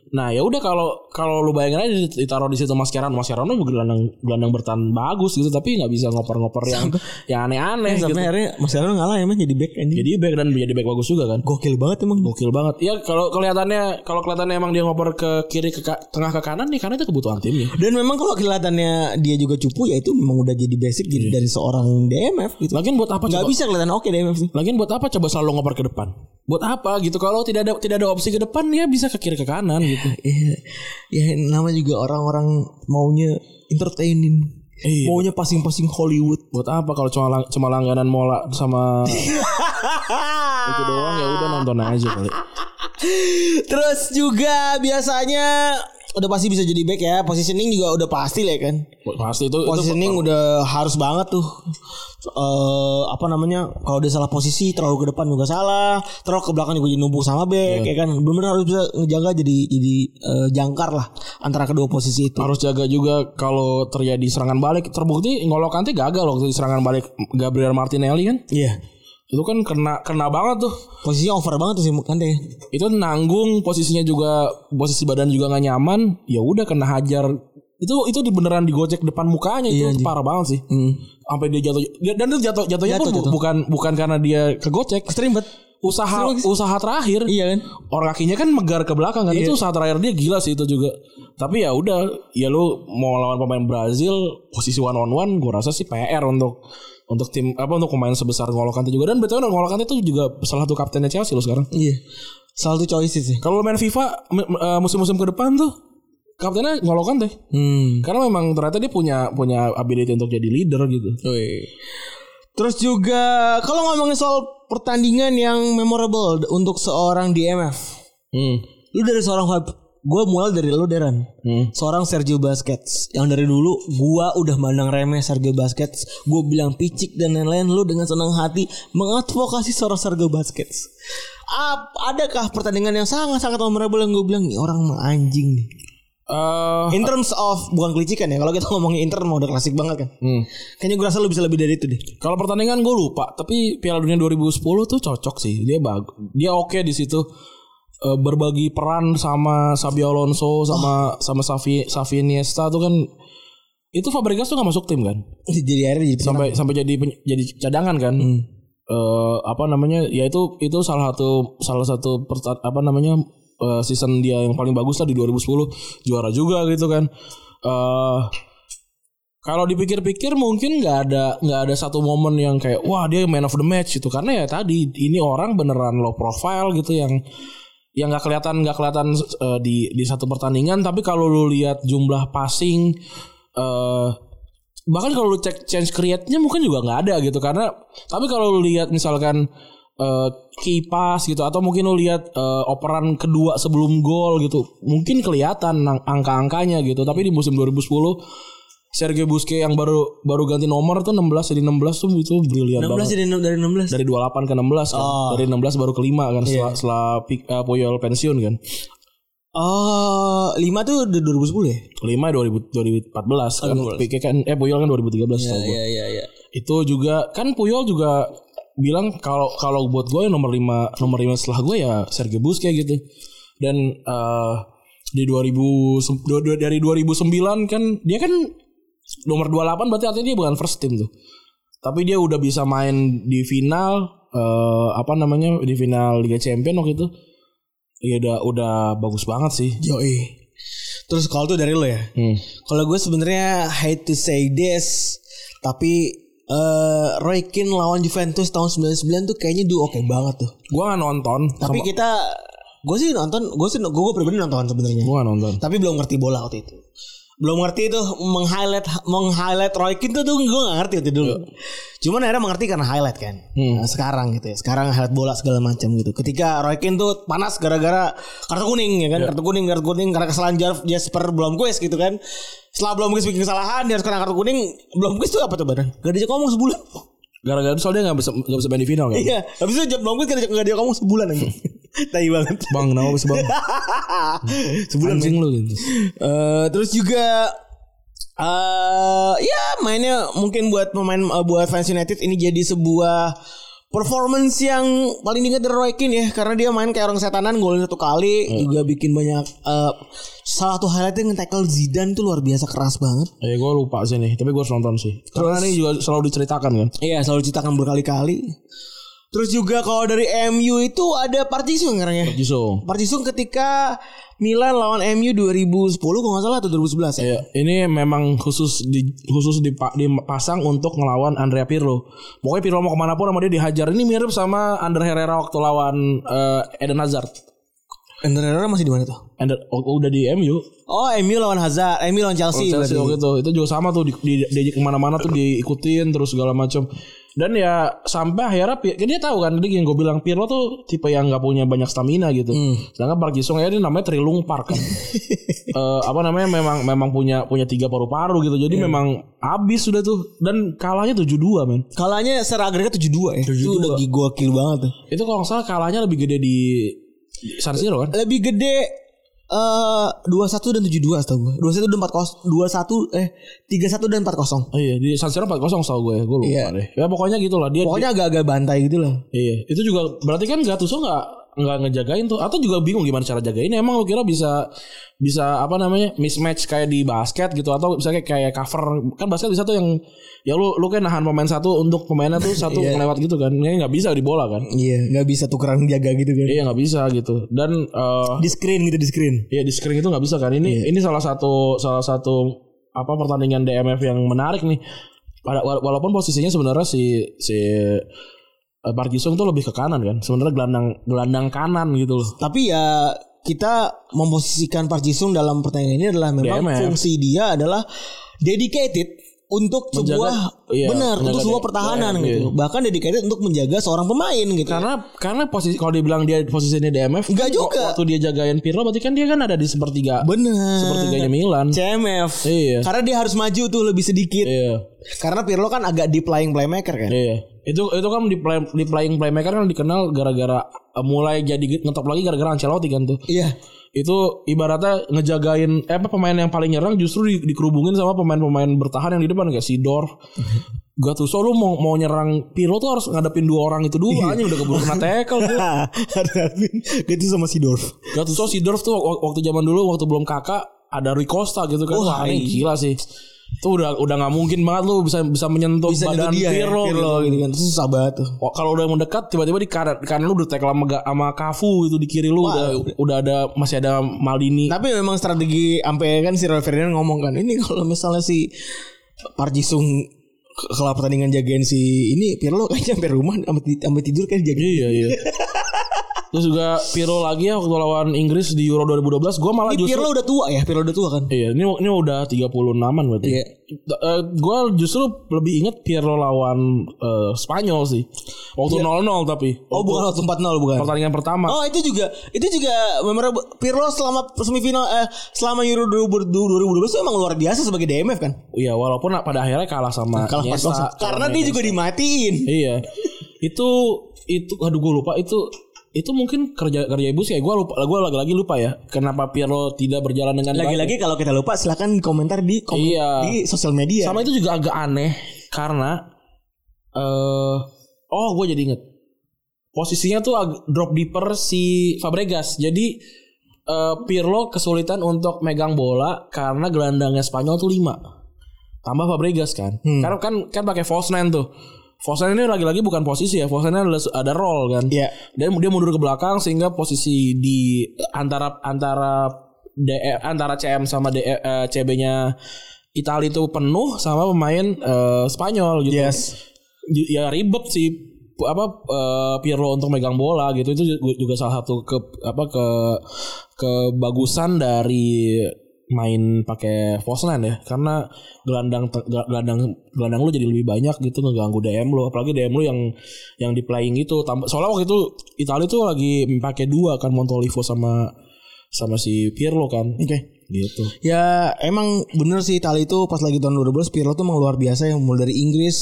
Speaker 2: Nah ya udah kalau kalau lu bayangin aja dit- ditaruh di situ Mascherano Mascherano gelandang gelandang bertahan bagus gitu tapi nggak bisa ngoper-ngoper yang yang aneh-aneh gitu.
Speaker 3: Sampai akhirnya Mas Darwin ngalah emang jadi back anjing.
Speaker 2: Jadi back dan jadi back bagus juga kan.
Speaker 3: Gokil banget emang.
Speaker 2: Gokil banget. Ya kalau kelihatannya kalau kelihatannya emang dia ngoper ke kiri ke ka- tengah ke kanan nih karena itu kebutuhan timnya.
Speaker 3: Dan memang kalau kelihatannya dia juga cupu ya itu memang udah jadi basic gitu dari seorang DMF gitu.
Speaker 2: Lagian buat apa coba?
Speaker 3: Gak bisa kelihatan oke DMF sih.
Speaker 2: Lagian buat apa coba selalu ngoper ke depan? Buat apa gitu? Kalau tidak ada tidak ada opsi ke depan dia bisa ke kiri ke kanan gitu.
Speaker 3: Iya. Ya nama juga orang-orang maunya entertaining.
Speaker 2: Iya.
Speaker 3: Maunya passing-passing Hollywood.
Speaker 2: buat apa kalau cuma lang- cuma langganan mola sama
Speaker 3: Iya. Ah.
Speaker 2: itu doang ya udah nonton aja kali
Speaker 3: Terus juga biasanya udah pasti bisa jadi back ya. Positioning juga udah pasti lah ya kan.
Speaker 2: pasti itu
Speaker 3: Positioning
Speaker 2: itu
Speaker 3: udah harus banget tuh. Eh apa namanya? Kalau dia salah posisi, terlalu ke depan juga salah, terlalu ke belakang juga jadi numpuk sama back ya kan. Benar harus bisa ngejaga jadi jadi eh, jangkar lah antara kedua posisi itu.
Speaker 2: harus jaga juga kalau terjadi serangan balik terbukti Ngolo Kante gagal waktu di serangan balik Gabriel Martinelli kan
Speaker 3: Iya.
Speaker 2: itu kan kena kena banget tuh
Speaker 3: Posisinya over banget tuh sih kan deh.
Speaker 2: itu nanggung posisinya juga posisi badan juga nggak nyaman ya udah kena hajar itu itu di- beneran digocek depan mukanya
Speaker 3: Iya,
Speaker 2: itu parah banget sih
Speaker 3: Hmm.
Speaker 2: sampai dia jatuh dia- dan itu jatuh jatuhnya
Speaker 3: Jatuh,
Speaker 2: pun bu-
Speaker 3: jatuh.
Speaker 2: bukan bukan karena dia kegocek
Speaker 3: Extreme bet.
Speaker 2: usaha usaha terakhir
Speaker 3: Iya kan?
Speaker 2: orang kakinya kan megar ke belakang kan itu saat terakhir dia gila sih itu juga tapi ya udah ya lu mau lawan pemain Brazil posisi one on one gue rasa sih PR untuk untuk tim apa untuk pemain sebesar Ngolo Kante juga dan betul Ngolo Kante itu juga salah satu kaptennya Chelsea lo sekarang
Speaker 3: Iya. Salah satu choices sih.
Speaker 2: kalau lu main FIFA me- me- eh, musim-musim ke depan tuh kaptennya Ngolo Kante
Speaker 3: Hmm.
Speaker 2: karena memang ternyata dia punya punya ability untuk jadi leader gitu
Speaker 3: Terus juga kalau ngomongin soal pertandingan yang memorable untuk seorang DMF,
Speaker 2: hmm.
Speaker 3: lu dari seorang gue mulai dari lu Deran seorang Sergio Busquets yang dari dulu gua udah mandang remeh Sergio Busquets gue bilang picik dan lain-lain lu dengan senang hati mengadvokasi seorang Sergio Busquets Ap, adakah pertandingan yang sangat-sangat memorable yang gue bilang nih orang mah anjing nih
Speaker 2: Eh,
Speaker 3: in terms of bukan kelicikan ya kalau kita ngomongin Inter mah udah klasik banget kan
Speaker 2: hmm.
Speaker 3: kayaknya gue rasa lu bisa lebih dari itu deh
Speaker 2: Kalau pertandingan gue lupa, tapi Piala Dunia 2010 tuh cocok sih. Dia bagus, dia oke di situ Eh, berbagi peran sama Sabio Alonso sama sama Savi Savi Iniesta tuh kan itu Fabregas tuh gak masuk tim kan?
Speaker 3: jadi akhirnya jadi
Speaker 2: Sampai sampai jadi pen- jadi cadangan kan? Eh, apa namanya? Ya itu itu salah satu salah satu perta- apa namanya eh, season dia yang paling bagus lah di 2010 juara juga gitu kan. Eh kalau dipikir-pikir mungkin nggak ada nggak ada satu momen yang kayak wah dia man of the match gitu karena ya tadi ini orang beneran low profile gitu yang yang Ya, nggak kelihatan nggak kelihatan eh, di di satu pertandingan tapi kalau lu lihat jumlah passing eh bahkan kalau lu cek change create-nya mungkin juga nggak ada gitu karena tapi kalau lu lihat misalkan eh key pass gitu atau mungkin lu lihat eh, operan kedua sebelum gol gitu mungkin kelihatan ang- angka-angkanya gitu tapi di musim 2010 Sergio Busquets yang baru baru ganti nomor tuh 16 jadi 16 tuh itu brilian
Speaker 3: 16
Speaker 2: banget.
Speaker 3: jadi enam- dari 16.
Speaker 2: Dari 28 ke 16 kan. Dari 16 baru ke 5 kan setelah setelah Pik- eh, Puyol pensiun kan.
Speaker 3: Oh, 5 tuh udah 2010 ya?
Speaker 2: 5 2000, 2014 kan. PK kan eh Puyol kan 2013 tau gue.
Speaker 3: iya iya.
Speaker 2: Itu juga kan Puyol juga bilang kalau kalau buat gue yang nomor 5 nomor 5 setelah gue ya Sergio Busquets gitu. Dan eh, di 2000 se- du- du- dari 2009 kan dia kan nomor 28 berarti artinya dia bukan first team tuh. Tapi dia udah bisa main di final eh, apa namanya di final Liga Champion waktu itu. Ya udah udah bagus banget sih.
Speaker 3: Yoi. Terus kalau tuh dari lo ya?
Speaker 2: Hmm.
Speaker 3: Kalau gue sebenarnya hate to say this, tapi eh Roy Keane lawan Juventus tahun 99 tuh kayaknya duo oke banget tuh.
Speaker 2: Gua nggak nonton.
Speaker 3: Tapi
Speaker 2: sama-
Speaker 3: kita gue sih nonton, gue sih gue pribadi nonton sebenarnya.
Speaker 2: gua nggak nonton.
Speaker 3: Tapi belum ngerti bola waktu itu. Belum ngerti itu meng-highlight meng-highlight Roy Keane tuh, tuh gue gak ngerti waktu dulu. Cuman akhirnya mengerti karena highlight kan.
Speaker 2: Hmm.
Speaker 3: Nah, sekarang gitu ya. Sekarang highlight bola segala macam gitu. Ketika Roy Keane tuh panas gara-gara kartu kuning ya kan.
Speaker 2: Iya.
Speaker 3: Kartu kuning, kartu kuning karena kesalahan Jar- Jasper Blomqvist gitu kan. Setelah Blomqvist bikin kesalahan dia harus kena kartu kuning. Blomqvist tuh apa tuh badan? Gak diajak ngomong sebulan.
Speaker 2: Gara-gara itu soalnya nggak bisa nggak bisa main di final kan.
Speaker 3: Iya. Habis itu Jab Blomqvist gak diajak gak diajak ngomong sebulan aja. Tai banget.
Speaker 2: Bang, kenapa bisa bang?
Speaker 3: sebulan men.
Speaker 2: Anjing lu gitu.
Speaker 3: Eh, terus juga eh ya mainnya mungkin buat pemain eh, buat fans United ini jadi sebuah performance yang paling diingat dari Roy Keane ya karena dia main kayak orang setanan golin satu kali juga bikin banyak eh, salah satu highlightnya nge-tackle Zidane tuh luar biasa keras banget.
Speaker 2: Eh gue lupa sih nih, tapi gue harus nonton sih. Karena ini juga selalu diceritakan kan.
Speaker 3: Iya selalu citakan berkali-kali. Terus juga kalau dari MU itu ada Partizan sekarang
Speaker 2: Iya.
Speaker 3: ya.
Speaker 2: Jisung.
Speaker 3: Partizan ketika Milan lawan MU 2010 kalau nggak salah atau 2011 ya.
Speaker 2: Ya, ini memang khusus di khusus dipa- dipasang untuk ngelawan Andrea Pirlo. Pokoknya Pirlo mau kemana pun sama dia dihajar. Ini mirip sama Ander Herrera waktu lawan eh, Eden Hazard.
Speaker 3: Ender Herrera masih di mana tuh?
Speaker 2: Ender oh, udah di MU.
Speaker 3: Oh, MU lawan Hazard, MU lawan Chelsea.
Speaker 2: Oh, Chelsea
Speaker 3: berarti.
Speaker 2: waktu itu. Itu juga sama tuh di, di, diajak kemana-mana tuh diikutin terus segala macam. Dan ya sampai akhirnya Pi- dia tahu kan tadi yang gue bilang Pirlo tuh tipe yang nggak punya banyak stamina gitu.
Speaker 3: Hmm.
Speaker 2: Sedangkan Park Ji-sung ya ini namanya Trilung Park kan. Eh, apa namanya memang memang punya punya tiga paru-paru gitu.
Speaker 3: Hmm.
Speaker 2: Jadi memang habis sudah tuh dan kalahnya 7-2 men.
Speaker 3: Kalahnya secara agregat 7-2 ya. Itu
Speaker 2: 7-2.
Speaker 3: udah gokil banget tuh.
Speaker 2: Itu kalau nggak salah kalahnya lebih gede di San Siro kan.
Speaker 3: Lebih gede eh 21 dan 72 setahu gue. 21 dan 40 21 eh 31 dan 40.
Speaker 2: Oh iya di San Siro 4-0 tau gue, gue lupa
Speaker 3: Iya.
Speaker 2: deh. Ya pokoknya gitulah dia
Speaker 3: Pokoknya agak-agak bantai gitu lah.
Speaker 2: Iya, itu juga berarti kan Gattuso nggak nggak ngejagain tuh atau juga bingung gimana cara jagain emang lu kira bisa bisa apa namanya mismatch kayak di basket gitu atau bisa kayak kayak cover kan basket bisa tuh yang ya lu lu kan nahan pemain satu untuk pemainnya tuh satu ngelewat gitu kan ini nggak bisa di bola kan
Speaker 3: Iya, nggak bisa tukeran jaga gitu kan.
Speaker 2: iya nggak bisa gitu dan eh,
Speaker 3: Di screen gitu di screen.
Speaker 2: ya di screen itu nggak bisa kan
Speaker 3: Iya.
Speaker 2: ini ini salah satu salah satu apa pertandingan DMF yang menarik nih Pada- wala- walaupun posisinya sebenarnya si si eh, Park Ji-sung tuh lebih ke kanan kan sebenarnya gelandang gelandang kanan gitu loh
Speaker 3: Tapi ya kita memposisikan Park Jisung dalam pertandingan ini adalah memang
Speaker 2: DMF.
Speaker 3: fungsi dia adalah dedicated untuk
Speaker 2: Menjaga-
Speaker 3: sebuah
Speaker 2: iya,
Speaker 3: benar untuk
Speaker 2: menjaga
Speaker 3: sebuah
Speaker 2: de-
Speaker 3: pertahanan
Speaker 2: DMF,
Speaker 3: gitu.
Speaker 2: iya.
Speaker 3: Bahkan dedicated untuk menjaga seorang pemain gitu.
Speaker 2: karena karena posisi kalau dibilang dia posisinya DMF
Speaker 3: Nggak
Speaker 2: kan
Speaker 3: juga.
Speaker 2: waktu dia jagain Pirlo berarti kan dia kan ada di sepertiga
Speaker 3: Bener.
Speaker 2: sepertiganya Milan
Speaker 3: CMF.
Speaker 2: Iya.
Speaker 3: Karena dia harus maju tuh lebih sedikit.
Speaker 2: iya
Speaker 3: Karena Pirlo kan agak deep lying playmaker kan.
Speaker 2: Iya. Itu itu kan di, play, di playing playmaker kan dikenal gara-gara eh, mulai jadi ngetop lagi gara-gara Ancelotti kan tuh.
Speaker 3: Iya.
Speaker 2: Itu ibaratnya ngejagain eh, apa pemain yang paling nyerang justru di- dikerubungin sama pemain-pemain bertahan yang di depan kayak Sidor. Gattuso lu mau mau nyerang Pirlo tuh harus ngadepin dua orang itu dulu
Speaker 3: Iya.
Speaker 2: anjing udah keburu kena tackle tuh.
Speaker 3: Gitu sama Sidorf.
Speaker 2: Gattuso Sidorf tuh wak- waktu zaman dulu waktu belum kakak ada Rui Costa gitu kan. Wah, ini gila sih. Itu udah udah nggak mungkin banget lu bisa bisa menyentuh
Speaker 3: Bisa
Speaker 2: badan
Speaker 3: badan dia ya,
Speaker 2: Pirlo, gitu.
Speaker 3: Pirlo gitu kan. Itu susah banget tuh.
Speaker 2: Wah, kalau udah mendekat tiba-tiba di kanan, di kanan lu udah tackle sama, Ga- sama Kafu itu di kiri lu udah, udah ada masih ada Maldini.
Speaker 3: Tapi memang strategi sampai kan si Roy Ferdinand ngomong kan ini kalau misalnya si Park Jisung ke- kalau kan pertandingan jagain si ini Pirlo kayaknya sampai rumah sampai ti- sampai tidur kayak jagain.
Speaker 2: Iya iya. Terus juga Pirlo lagi ya waktu lawan Inggris di Euro 2012 gue malah
Speaker 3: Ini
Speaker 2: justru
Speaker 3: Pirlo udah tua ya, Pirlo udah tua kan.
Speaker 2: Iya, ini ini udah 36-an berarti.
Speaker 3: Iya.
Speaker 2: gue justru lebih inget Pirlo lawan eh, Spanyol sih. Waktu 0-0 tapi.
Speaker 3: Iya. Oh, bukan waktu 4-0 bukan.
Speaker 2: pertandingan pertama.
Speaker 3: Oh, itu juga itu juga memorable. Pirlo selama semifinal eh selama Euro 2000 2012 itu emang luar biasa sebagai DMF kan.
Speaker 2: Iya, walaupun pada akhirnya kalah sama
Speaker 3: Kalah pas
Speaker 2: Iniesta.
Speaker 3: Karena dia juga dimatiin.
Speaker 2: Iya. Itu itu aduh gue lupa itu itu mungkin kerja kerja ibu sih ya gue lupa gue lagi-lagi lupa ya kenapa Pirlo tidak berjalan dengan baik.
Speaker 3: Lagi-lagi kalau kita lupa silakan komentar di kom-
Speaker 2: Iya.
Speaker 3: di sosial media.
Speaker 2: Sama itu juga agak aneh karena eh oh gue jadi inget posisinya tuh ag- drop deeper si Fabregas. Jadi eh, Pirlo kesulitan untuk megang bola karena gelandangnya Spanyol tuh 5. Tambah Fabregas kan. Karena kan kan pakai false nine tuh. False nine ini lagi-lagi bukan posisi ya. False nine ada, ada roll kan.
Speaker 3: Iya.
Speaker 2: Dan dia mundur ke belakang sehingga posisi di antara antara DE antara CM sama eh, CB-nya Italia itu penuh sama pemain eh, Spanyol gitu.
Speaker 3: Yes.
Speaker 2: Ju- Ya ribet sih pu- apa eh, Pirlo untuk megang bola gitu itu ju- juga salah satu ke apa ke kebagusan dari main pakai Fosland ya karena gelandang te- gel- gelandang gelandang lu jadi lebih banyak gitu ngeganggu DM lu apalagi DM lu yang yang di playing itu Tam- soalnya waktu itu Italia tuh lagi pakai dua kan Montolivo sama sama si Pirlo kan
Speaker 3: Oke.
Speaker 2: gitu
Speaker 3: Ya emang bener sih Itali itu pas lagi tahun 2012 Pirlo tuh emang luar biasa yang mulai dari Inggris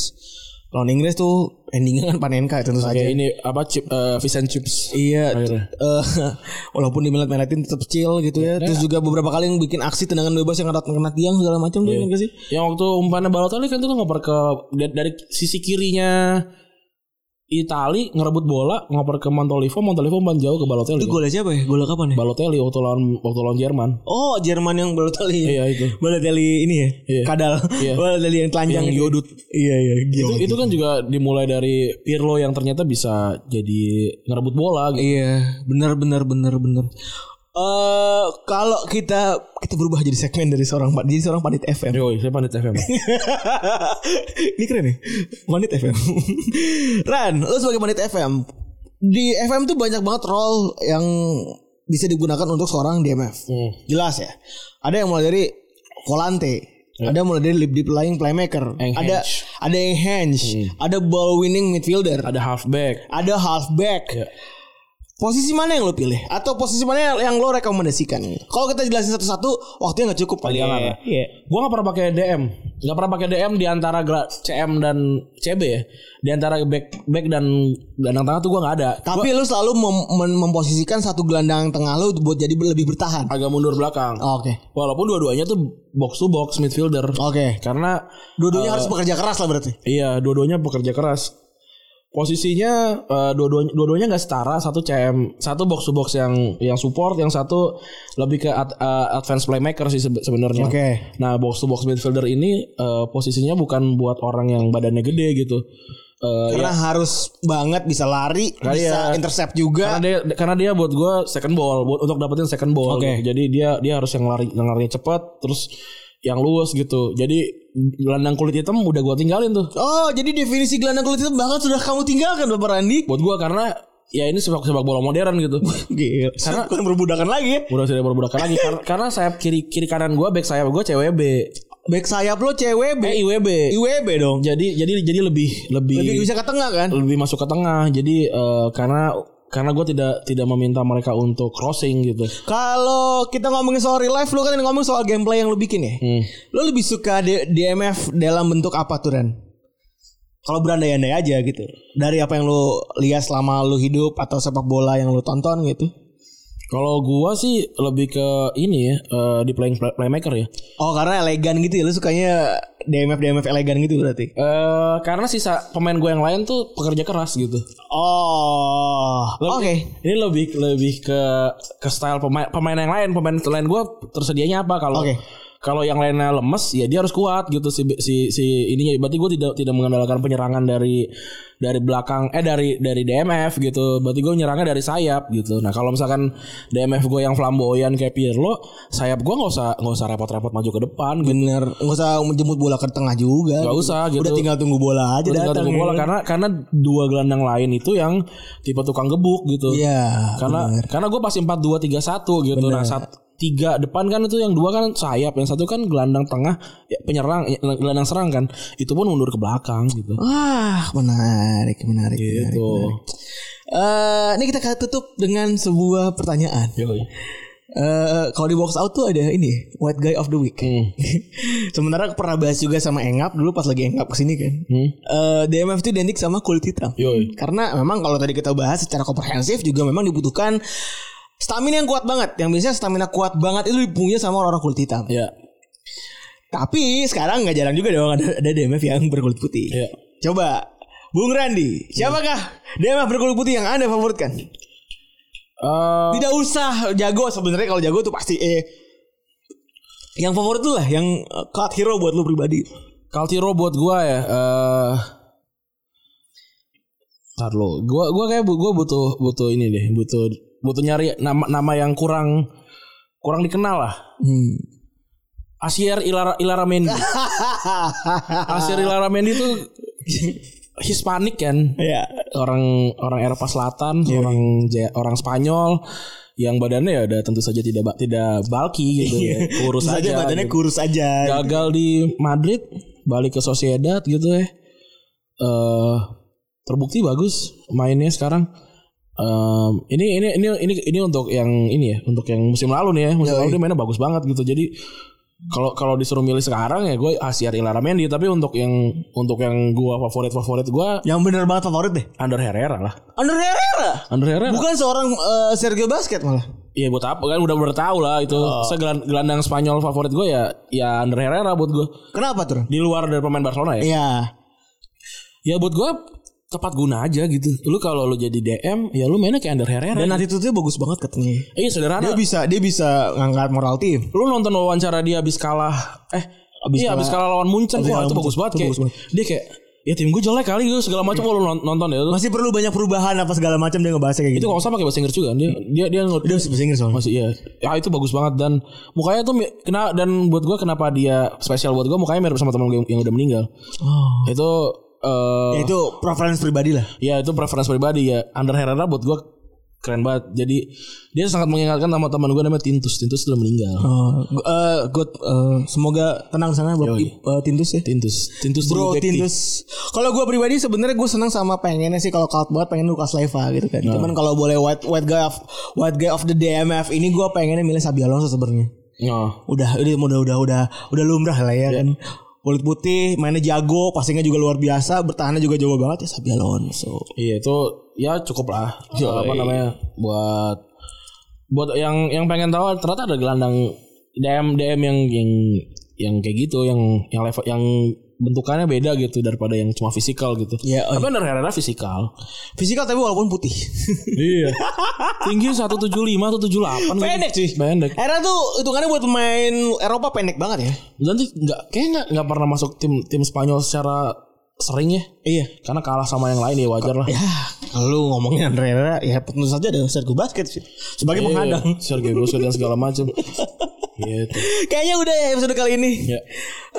Speaker 3: lawan Inggris tuh endingnya kan Panenka tentu saja.
Speaker 2: kayak ini apa chip eh, fish and chips
Speaker 3: Iya,
Speaker 2: Akhirnya. Iya.
Speaker 3: eh, walaupun dimelet-meletin tetap kecil gitu ya. Terus juga beberapa kali yang bikin aksi tendangan bebas yang kena kena tiang segala macam
Speaker 2: Iya.
Speaker 3: tuh enggak sih?
Speaker 2: Yang waktu umpannya Balotelli kan itu ngoper ke da- dari sisi kirinya Itali ngerebut bola ngoper ke Montolivo, Montolivo umpan jauh ke Balotelli. kan?
Speaker 3: Itu golnya siapa ya? Gol kapan ya?
Speaker 2: Balotelli waktu lawan waktu lawan Jerman.
Speaker 3: Oh, Jerman yang Balotelli.
Speaker 2: Iya itu.
Speaker 3: Balotelli ini ya.
Speaker 2: Iya.
Speaker 3: Kadal.
Speaker 2: Iya.
Speaker 3: Balotelli yang telanjang
Speaker 2: Yang
Speaker 3: itu.
Speaker 2: Yodut.
Speaker 3: Iya, iya.
Speaker 2: Itu,
Speaker 3: Yodut.
Speaker 2: itu kan juga dimulai dari Pirlo yang ternyata bisa jadi ngerebut bola gitu.
Speaker 3: Iya, benar benar benar benar. Eh kalau kita kita berubah jadi segmen dari seorang jadi seorang pandit FM.
Speaker 2: Yoi, saya pandit FM.
Speaker 3: Ini keren nih. Pandit FM. Ran, lu sebagai pandit FM di FM tuh banyak banget role yang bisa digunakan untuk seorang DMF.
Speaker 2: Hmm.
Speaker 3: Jelas ya. Ada yang mulai dari volante, ada mulai dari deep deep lying playmaker,
Speaker 2: Enhance.
Speaker 3: ada ada enhance, ada ball winning midfielder,
Speaker 2: Ada halfback.
Speaker 3: ada halfback.
Speaker 2: Ya.
Speaker 3: Posisi mana yang lo pilih? Atau posisi mana yang- yang lo rekomendasikan? Kalau kita jelasin satu-satu, waktunya nggak cukup kali
Speaker 2: Hmm.
Speaker 3: ya.
Speaker 2: Iya.
Speaker 3: Lara. Iya.
Speaker 2: Gua gak pernah pakai DM. Gak pernah pakai DM di antara gra- CM dan CB ya. Di antara back back dan gelandang tengah tuh gua gak ada.
Speaker 3: Tapi lo selalu mem- men- memposisikan satu gelandang tengah lo buat jadi lebih bertahan.
Speaker 2: agak mundur belakang.
Speaker 3: Oh, Oke.
Speaker 2: Walaupun dua-duanya tuh box to box midfielder.
Speaker 3: Oke.
Speaker 2: Karena Eh.
Speaker 3: Dua-duanya harus bekerja keras lah berarti.
Speaker 2: iya dua-duanya pekerja keras. Posisinya eh, dua-duanya dua-duanya nggak setara, satu CM, satu box to box yang yang support, yang satu lebih ke ad- eh, advance playmaker sih sebe- sebenarnya.
Speaker 3: Oke.
Speaker 2: Nah, box to box midfielder ini eh, posisinya bukan buat orang yang badannya gede gitu. Eh,
Speaker 3: Karena harus banget bisa lari,
Speaker 2: Iya.
Speaker 3: bisa intercept
Speaker 2: karena
Speaker 3: juga.
Speaker 2: dia karena dia buat gue second ball buat untuk dapetin second ball
Speaker 3: Oke.
Speaker 2: gitu. jadi dia dia harus yang lari yang larinya cepat terus yang luas gitu jadi gelandang kulit hitam udah gue tinggalin tuh
Speaker 3: Oh, jadi definisi gelandang kulit itu bahkan sudah kamu tinggalkan Bapak Randi.
Speaker 2: buat gue karena ya ini sepak sepak bola modern gitu
Speaker 3: Gila. Karena bukan perbudakan lagi ya.
Speaker 2: udah tidak berbudak lagi karena, karena sayap kiri kiri kanan gue back sayap gue CWB
Speaker 3: Back sayap lo CWB,
Speaker 2: eh IWB
Speaker 3: IWB dong.
Speaker 2: jadi jadi jadi lebih lebih
Speaker 3: Lebih bisa ke tengah kan?
Speaker 2: lebih masuk ke tengah jadi eh, karena karena gue tidak tidak meminta mereka untuk crossing gitu
Speaker 3: Kalau kita ngomongin soal real life, lu kan ngomong soal gameplay yang lu bikin ya.
Speaker 2: Hmm.
Speaker 3: Lu lebih suka D- DMF dalam bentuk apa tuh Ran? Kalau berandai-andai aja gitu. Dari apa yang lu lihat selama lu hidup atau sepak bola yang lu tonton gitu.
Speaker 2: Kalau gua sih lebih ke ini ya eh, di playing play- playmaker ya.
Speaker 3: Oh karena elegan gitu ya. Lu sukanya DMF DMF elegan gitu berarti.
Speaker 2: Eh karena sisa pemain gua yang lain tuh pekerja keras gitu.
Speaker 3: Oh. Oke.
Speaker 2: Ini lebih lebih ke ke style pemain pemain yang lain pemain lain gua tersedianya apa kalau
Speaker 3: Oke.
Speaker 2: kalau yang lainnya lemes ya dia harus kuat gitu si si si ininya. Berarti gua tidak tidak mengandalkan penyerangan dari dari belakang eh dari dari DMF gitu. Berarti gue nyerangnya dari sayap gitu. Nah kalau misalkan DMF gue yang flamboyan kayak Pirlo, sayap gue nggak usah nggak usah repot-repot maju ke depan. Gitu.
Speaker 3: Bener, nggak usah menjemput bola ke tengah juga.
Speaker 2: Nggak usah gitu.
Speaker 3: Udah tinggal tunggu bola
Speaker 2: Udah
Speaker 3: aja
Speaker 2: tinggal
Speaker 3: datang. ya.
Speaker 2: tunggu bola kan. karena karena dua gelandang lain itu yang tipe tukang gebuk gitu.
Speaker 3: Iya.
Speaker 2: Karena karena gue pasti 4 2 3 1 gitu. Nah, sat, tiga depan kan itu yang dua kan sayap, yang satu kan gelandang tengah ya, penyerang ya, gelandang serang kan. Itu pun mundur ke belakang gitu.
Speaker 3: Oh, Wah, menarik, menarik. menarik.
Speaker 2: Gitu.
Speaker 3: Eh, ini kita tutup dengan sebuah pertanyaan.
Speaker 2: Yoi.
Speaker 3: Eh, kalau di box out tuh ada ini white guy of the week.
Speaker 2: Hmm.
Speaker 3: Sementara pernah bahas juga sama Engap dulu pas lagi Engap kesini kan.
Speaker 2: Hmm.
Speaker 3: Eh, DMF itu identik sama kulit hitam.
Speaker 2: Yoi.
Speaker 3: Karena memang kalau tadi kita bahas secara komprehensif juga memang dibutuhkan stamina yang kuat banget. Yang biasanya stamina kuat banget itu dipunya sama orang-orang kulit hitam.
Speaker 2: Ya.
Speaker 3: Tapi sekarang nggak jarang juga dong ada, ada DMF yang berkulit putih.
Speaker 2: Iya.
Speaker 3: Coba Bung Randi, siapakah DMF berkulit putih yang Anda favoritkan?
Speaker 2: Eh,
Speaker 3: Tidak usah jago sebenarnya kalau jago tuh pasti eh yang favorit tuh lah yang eh, cult hero buat lu pribadi.
Speaker 2: Kaltiro buat gua ya. Eh Ntar lo, gua gua kayak bu- gua butuh butuh ini deh, butuh butuh nyari nama nama yang kurang kurang dikenal lah.
Speaker 3: Hmm.
Speaker 2: Asier Ilara Ilaramendi. Asier Ilaramendi tuh Hispanik kan.
Speaker 3: Ya.
Speaker 2: Orang orang Eropa Selatan,
Speaker 3: Iya.
Speaker 2: orang Ja- orang Spanyol yang badannya ya udah tentu saja tidak ba- tidak bulky gitu ya. Kurus
Speaker 3: Terus aja
Speaker 2: aja.
Speaker 3: Iya. badannya
Speaker 2: gitu.
Speaker 3: kurus aja.
Speaker 2: Gagal di Madrid, balik ke Sociedad gitu ya. Eh terbukti bagus mainnya sekarang. Em, ini ini ini ini ini untuk yang ini ya, untuk yang musim lalu nih ya. Musim lalu dia mainnya bagus banget gitu. Jadi kalau kalau disuruh milih sekarang ya gue Asiar Ilaramendi tapi untuk yang untuk yang gua favorit favorit gua
Speaker 3: Yang bener banget favorit deh. Ah.
Speaker 2: Under Herrera lah.
Speaker 3: Under Herrera.
Speaker 2: Under Herrera.
Speaker 3: Bukan seorang eh, Sergio Basket malah.
Speaker 2: Iya buat apa kan udah bertahu lah itu. Segelan- gelandang Spanyol favorit gue ya ya Under Herrera buat gue
Speaker 3: Kenapa tuh?
Speaker 2: di luar dari pemain Barcelona ya.
Speaker 3: Iya.
Speaker 2: Ya buat gue tepat guna aja gitu. Lu kalau lu jadi DM ya lu mainnya kayak Under Herrera.
Speaker 3: Dan attitude-nya bagus banget katanya.
Speaker 2: iya sederhana.
Speaker 3: Dia bisa dia bisa ngangkat moral tim.
Speaker 2: lu nonton wawancara dia habis kalah eh
Speaker 3: Abis
Speaker 2: iya
Speaker 3: kalah-
Speaker 2: habis kalah lawan Munchen
Speaker 3: abis
Speaker 2: wah itu
Speaker 3: kalah Munchen.
Speaker 2: bagus banget
Speaker 3: Itu
Speaker 2: kayak
Speaker 3: bagus banget.
Speaker 2: dia kayak ya tim gue jelek kali gitu segala macam lu non- nonton ya.
Speaker 3: Masih perlu banyak perubahan apa segala macam dia ngebahasnya kayak
Speaker 2: itu
Speaker 3: gitu.
Speaker 2: kalau usah pakai bahasa Inggris juga kan, dia dia dia, nge-
Speaker 3: Dia masih bahasa Inggris soalnya.
Speaker 2: masih iya ya itu bagus banget dan mukanya tuh mi- kena dan buat gue kenapa dia spesial buat gue mukanya mirip sama teman gue yang udah meninggal
Speaker 3: Oh.
Speaker 2: itu eh
Speaker 3: Ya itu preference pribadi lah.
Speaker 2: Ya itu preference pribadi ya. Under Herrera buat gue keren banget. Jadi dia sangat mengingatkan nama teman gue namanya Tintus. Tintus sudah meninggal.
Speaker 3: Oh, gu- eh, good. eh, semoga tenang sana Bapak
Speaker 2: Yoi.
Speaker 3: Ip- eh, Tintus ya.
Speaker 2: Tintus. Tintus
Speaker 3: Bro
Speaker 2: Tribekti.
Speaker 3: Tintus. Kalau gue pribadi sebenarnya gue senang sama pengennya sih kalau cult banget pengen Lukas Leiva gitu kan. Cuman kalau boleh white white guy of white guy of the DMF ini gue pengennya milih Sabi Alonso sebenarnya.
Speaker 2: Oh.
Speaker 3: Udah udah udah udah udah udah lumrah lah ya kan. Kulit putih, mainnya jago, passingnya juga luar biasa, bertahannya juga jago banget ya Sabi Alonso.
Speaker 2: Iya itu ya cukup lah.
Speaker 3: Oh,
Speaker 2: apa
Speaker 3: iya.
Speaker 2: namanya buat buat yang yang pengen tahu ternyata ada gelandang DM DM yang yang yang kayak gitu yang yang level yang bentukannya beda gitu daripada yang cuma fisikal gitu.
Speaker 3: Iya, oh
Speaker 2: Tapi Under Herrera fisikal.
Speaker 3: Fisikal tapi walaupun putih.
Speaker 2: iya. Tinggi 175 178
Speaker 3: Pendek, cuy.
Speaker 2: gitu. Pendek.
Speaker 3: Era tuh hitungannya buat pemain Eropa pendek banget ya.
Speaker 2: Nanti nggak kayak nggak nggak pernah masuk tim tim Spanyol secara sering ya.
Speaker 3: Iya.
Speaker 2: Karena kalah sama yang lain ya wajar lah.
Speaker 3: Ya, kalau lu ngomongin Andre Herrera, ya tentu saja ada Sergio Basket sih. Sebagai penghadang.
Speaker 2: Iya, Sergio Busquets dan segala macam. gitu.
Speaker 3: Kayaknya udah ya episode kali ini.
Speaker 2: Ya.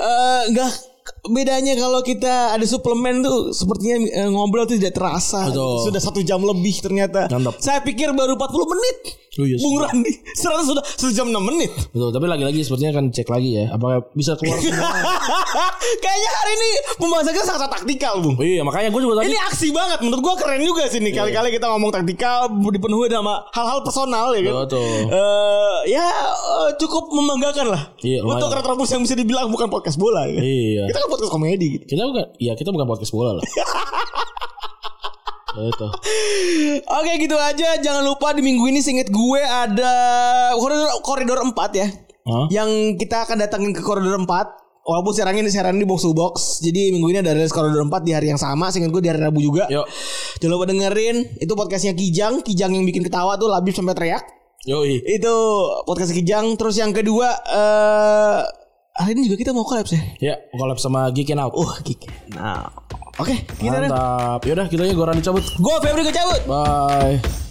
Speaker 3: Eh, Nggak bedanya kalau kita ada suplemen tuh sepertinya eh, ngobrol tuh tidak terasa.
Speaker 2: Betul.
Speaker 3: Sudah satu jam lebih ternyata.
Speaker 2: Mantap.
Speaker 3: Saya pikir baru 40 menit.
Speaker 2: Oh, iya,
Speaker 3: Bung Randi, serasa sudah satu jam 6 menit.
Speaker 2: Betul, tapi lagi-lagi sepertinya akan cek lagi ya apakah bisa keluar semua.
Speaker 3: Kayaknya hari ini pembahasan kita sangat taktikal, Bung.
Speaker 2: iya, makanya gue juga tadi
Speaker 3: Ini aksi banget menurut gua keren juga sih nih
Speaker 2: Iya.
Speaker 3: kali-kali kita ngomong taktikal dipenuhi sama hal-hal personal ya kan.
Speaker 2: Betul.
Speaker 3: Eh, ya eh, cukup membanggakan lah.
Speaker 2: Iya, lumayan.
Speaker 3: Untuk retrobus yang bisa dibilang bukan podcast bola ya.
Speaker 2: Iya.
Speaker 3: Kita kan podcast komedi gitu.
Speaker 2: Kita bukan ya kita bukan podcast bola lah. Itu.
Speaker 3: Oke gitu aja jangan lupa di minggu ini singkat gue ada koridor koridor 4 ya.
Speaker 2: Hah?
Speaker 3: Yang kita akan datangin ke koridor 4 Walaupun siarannya siaran di box to box Jadi minggu ini ada rilis koridor 4 di hari yang sama Singkat gue di hari Rabu juga
Speaker 2: Yuk.
Speaker 3: Jangan lupa dengerin Itu podcastnya Kijang Kijang yang bikin ketawa tuh Labib sampai teriak
Speaker 2: Yoi.
Speaker 3: Itu podcast Kijang. Terus yang kedua eh hari ini juga kita mau collab ya.
Speaker 2: Ya, collab sama Geekin Out.
Speaker 3: Uh, Kijang. Nah.
Speaker 2: Oke, kita
Speaker 3: Mantap. Yaudah kita ya Goran dicabut.
Speaker 2: gitu Gue Febri gue cabut.
Speaker 3: Bye.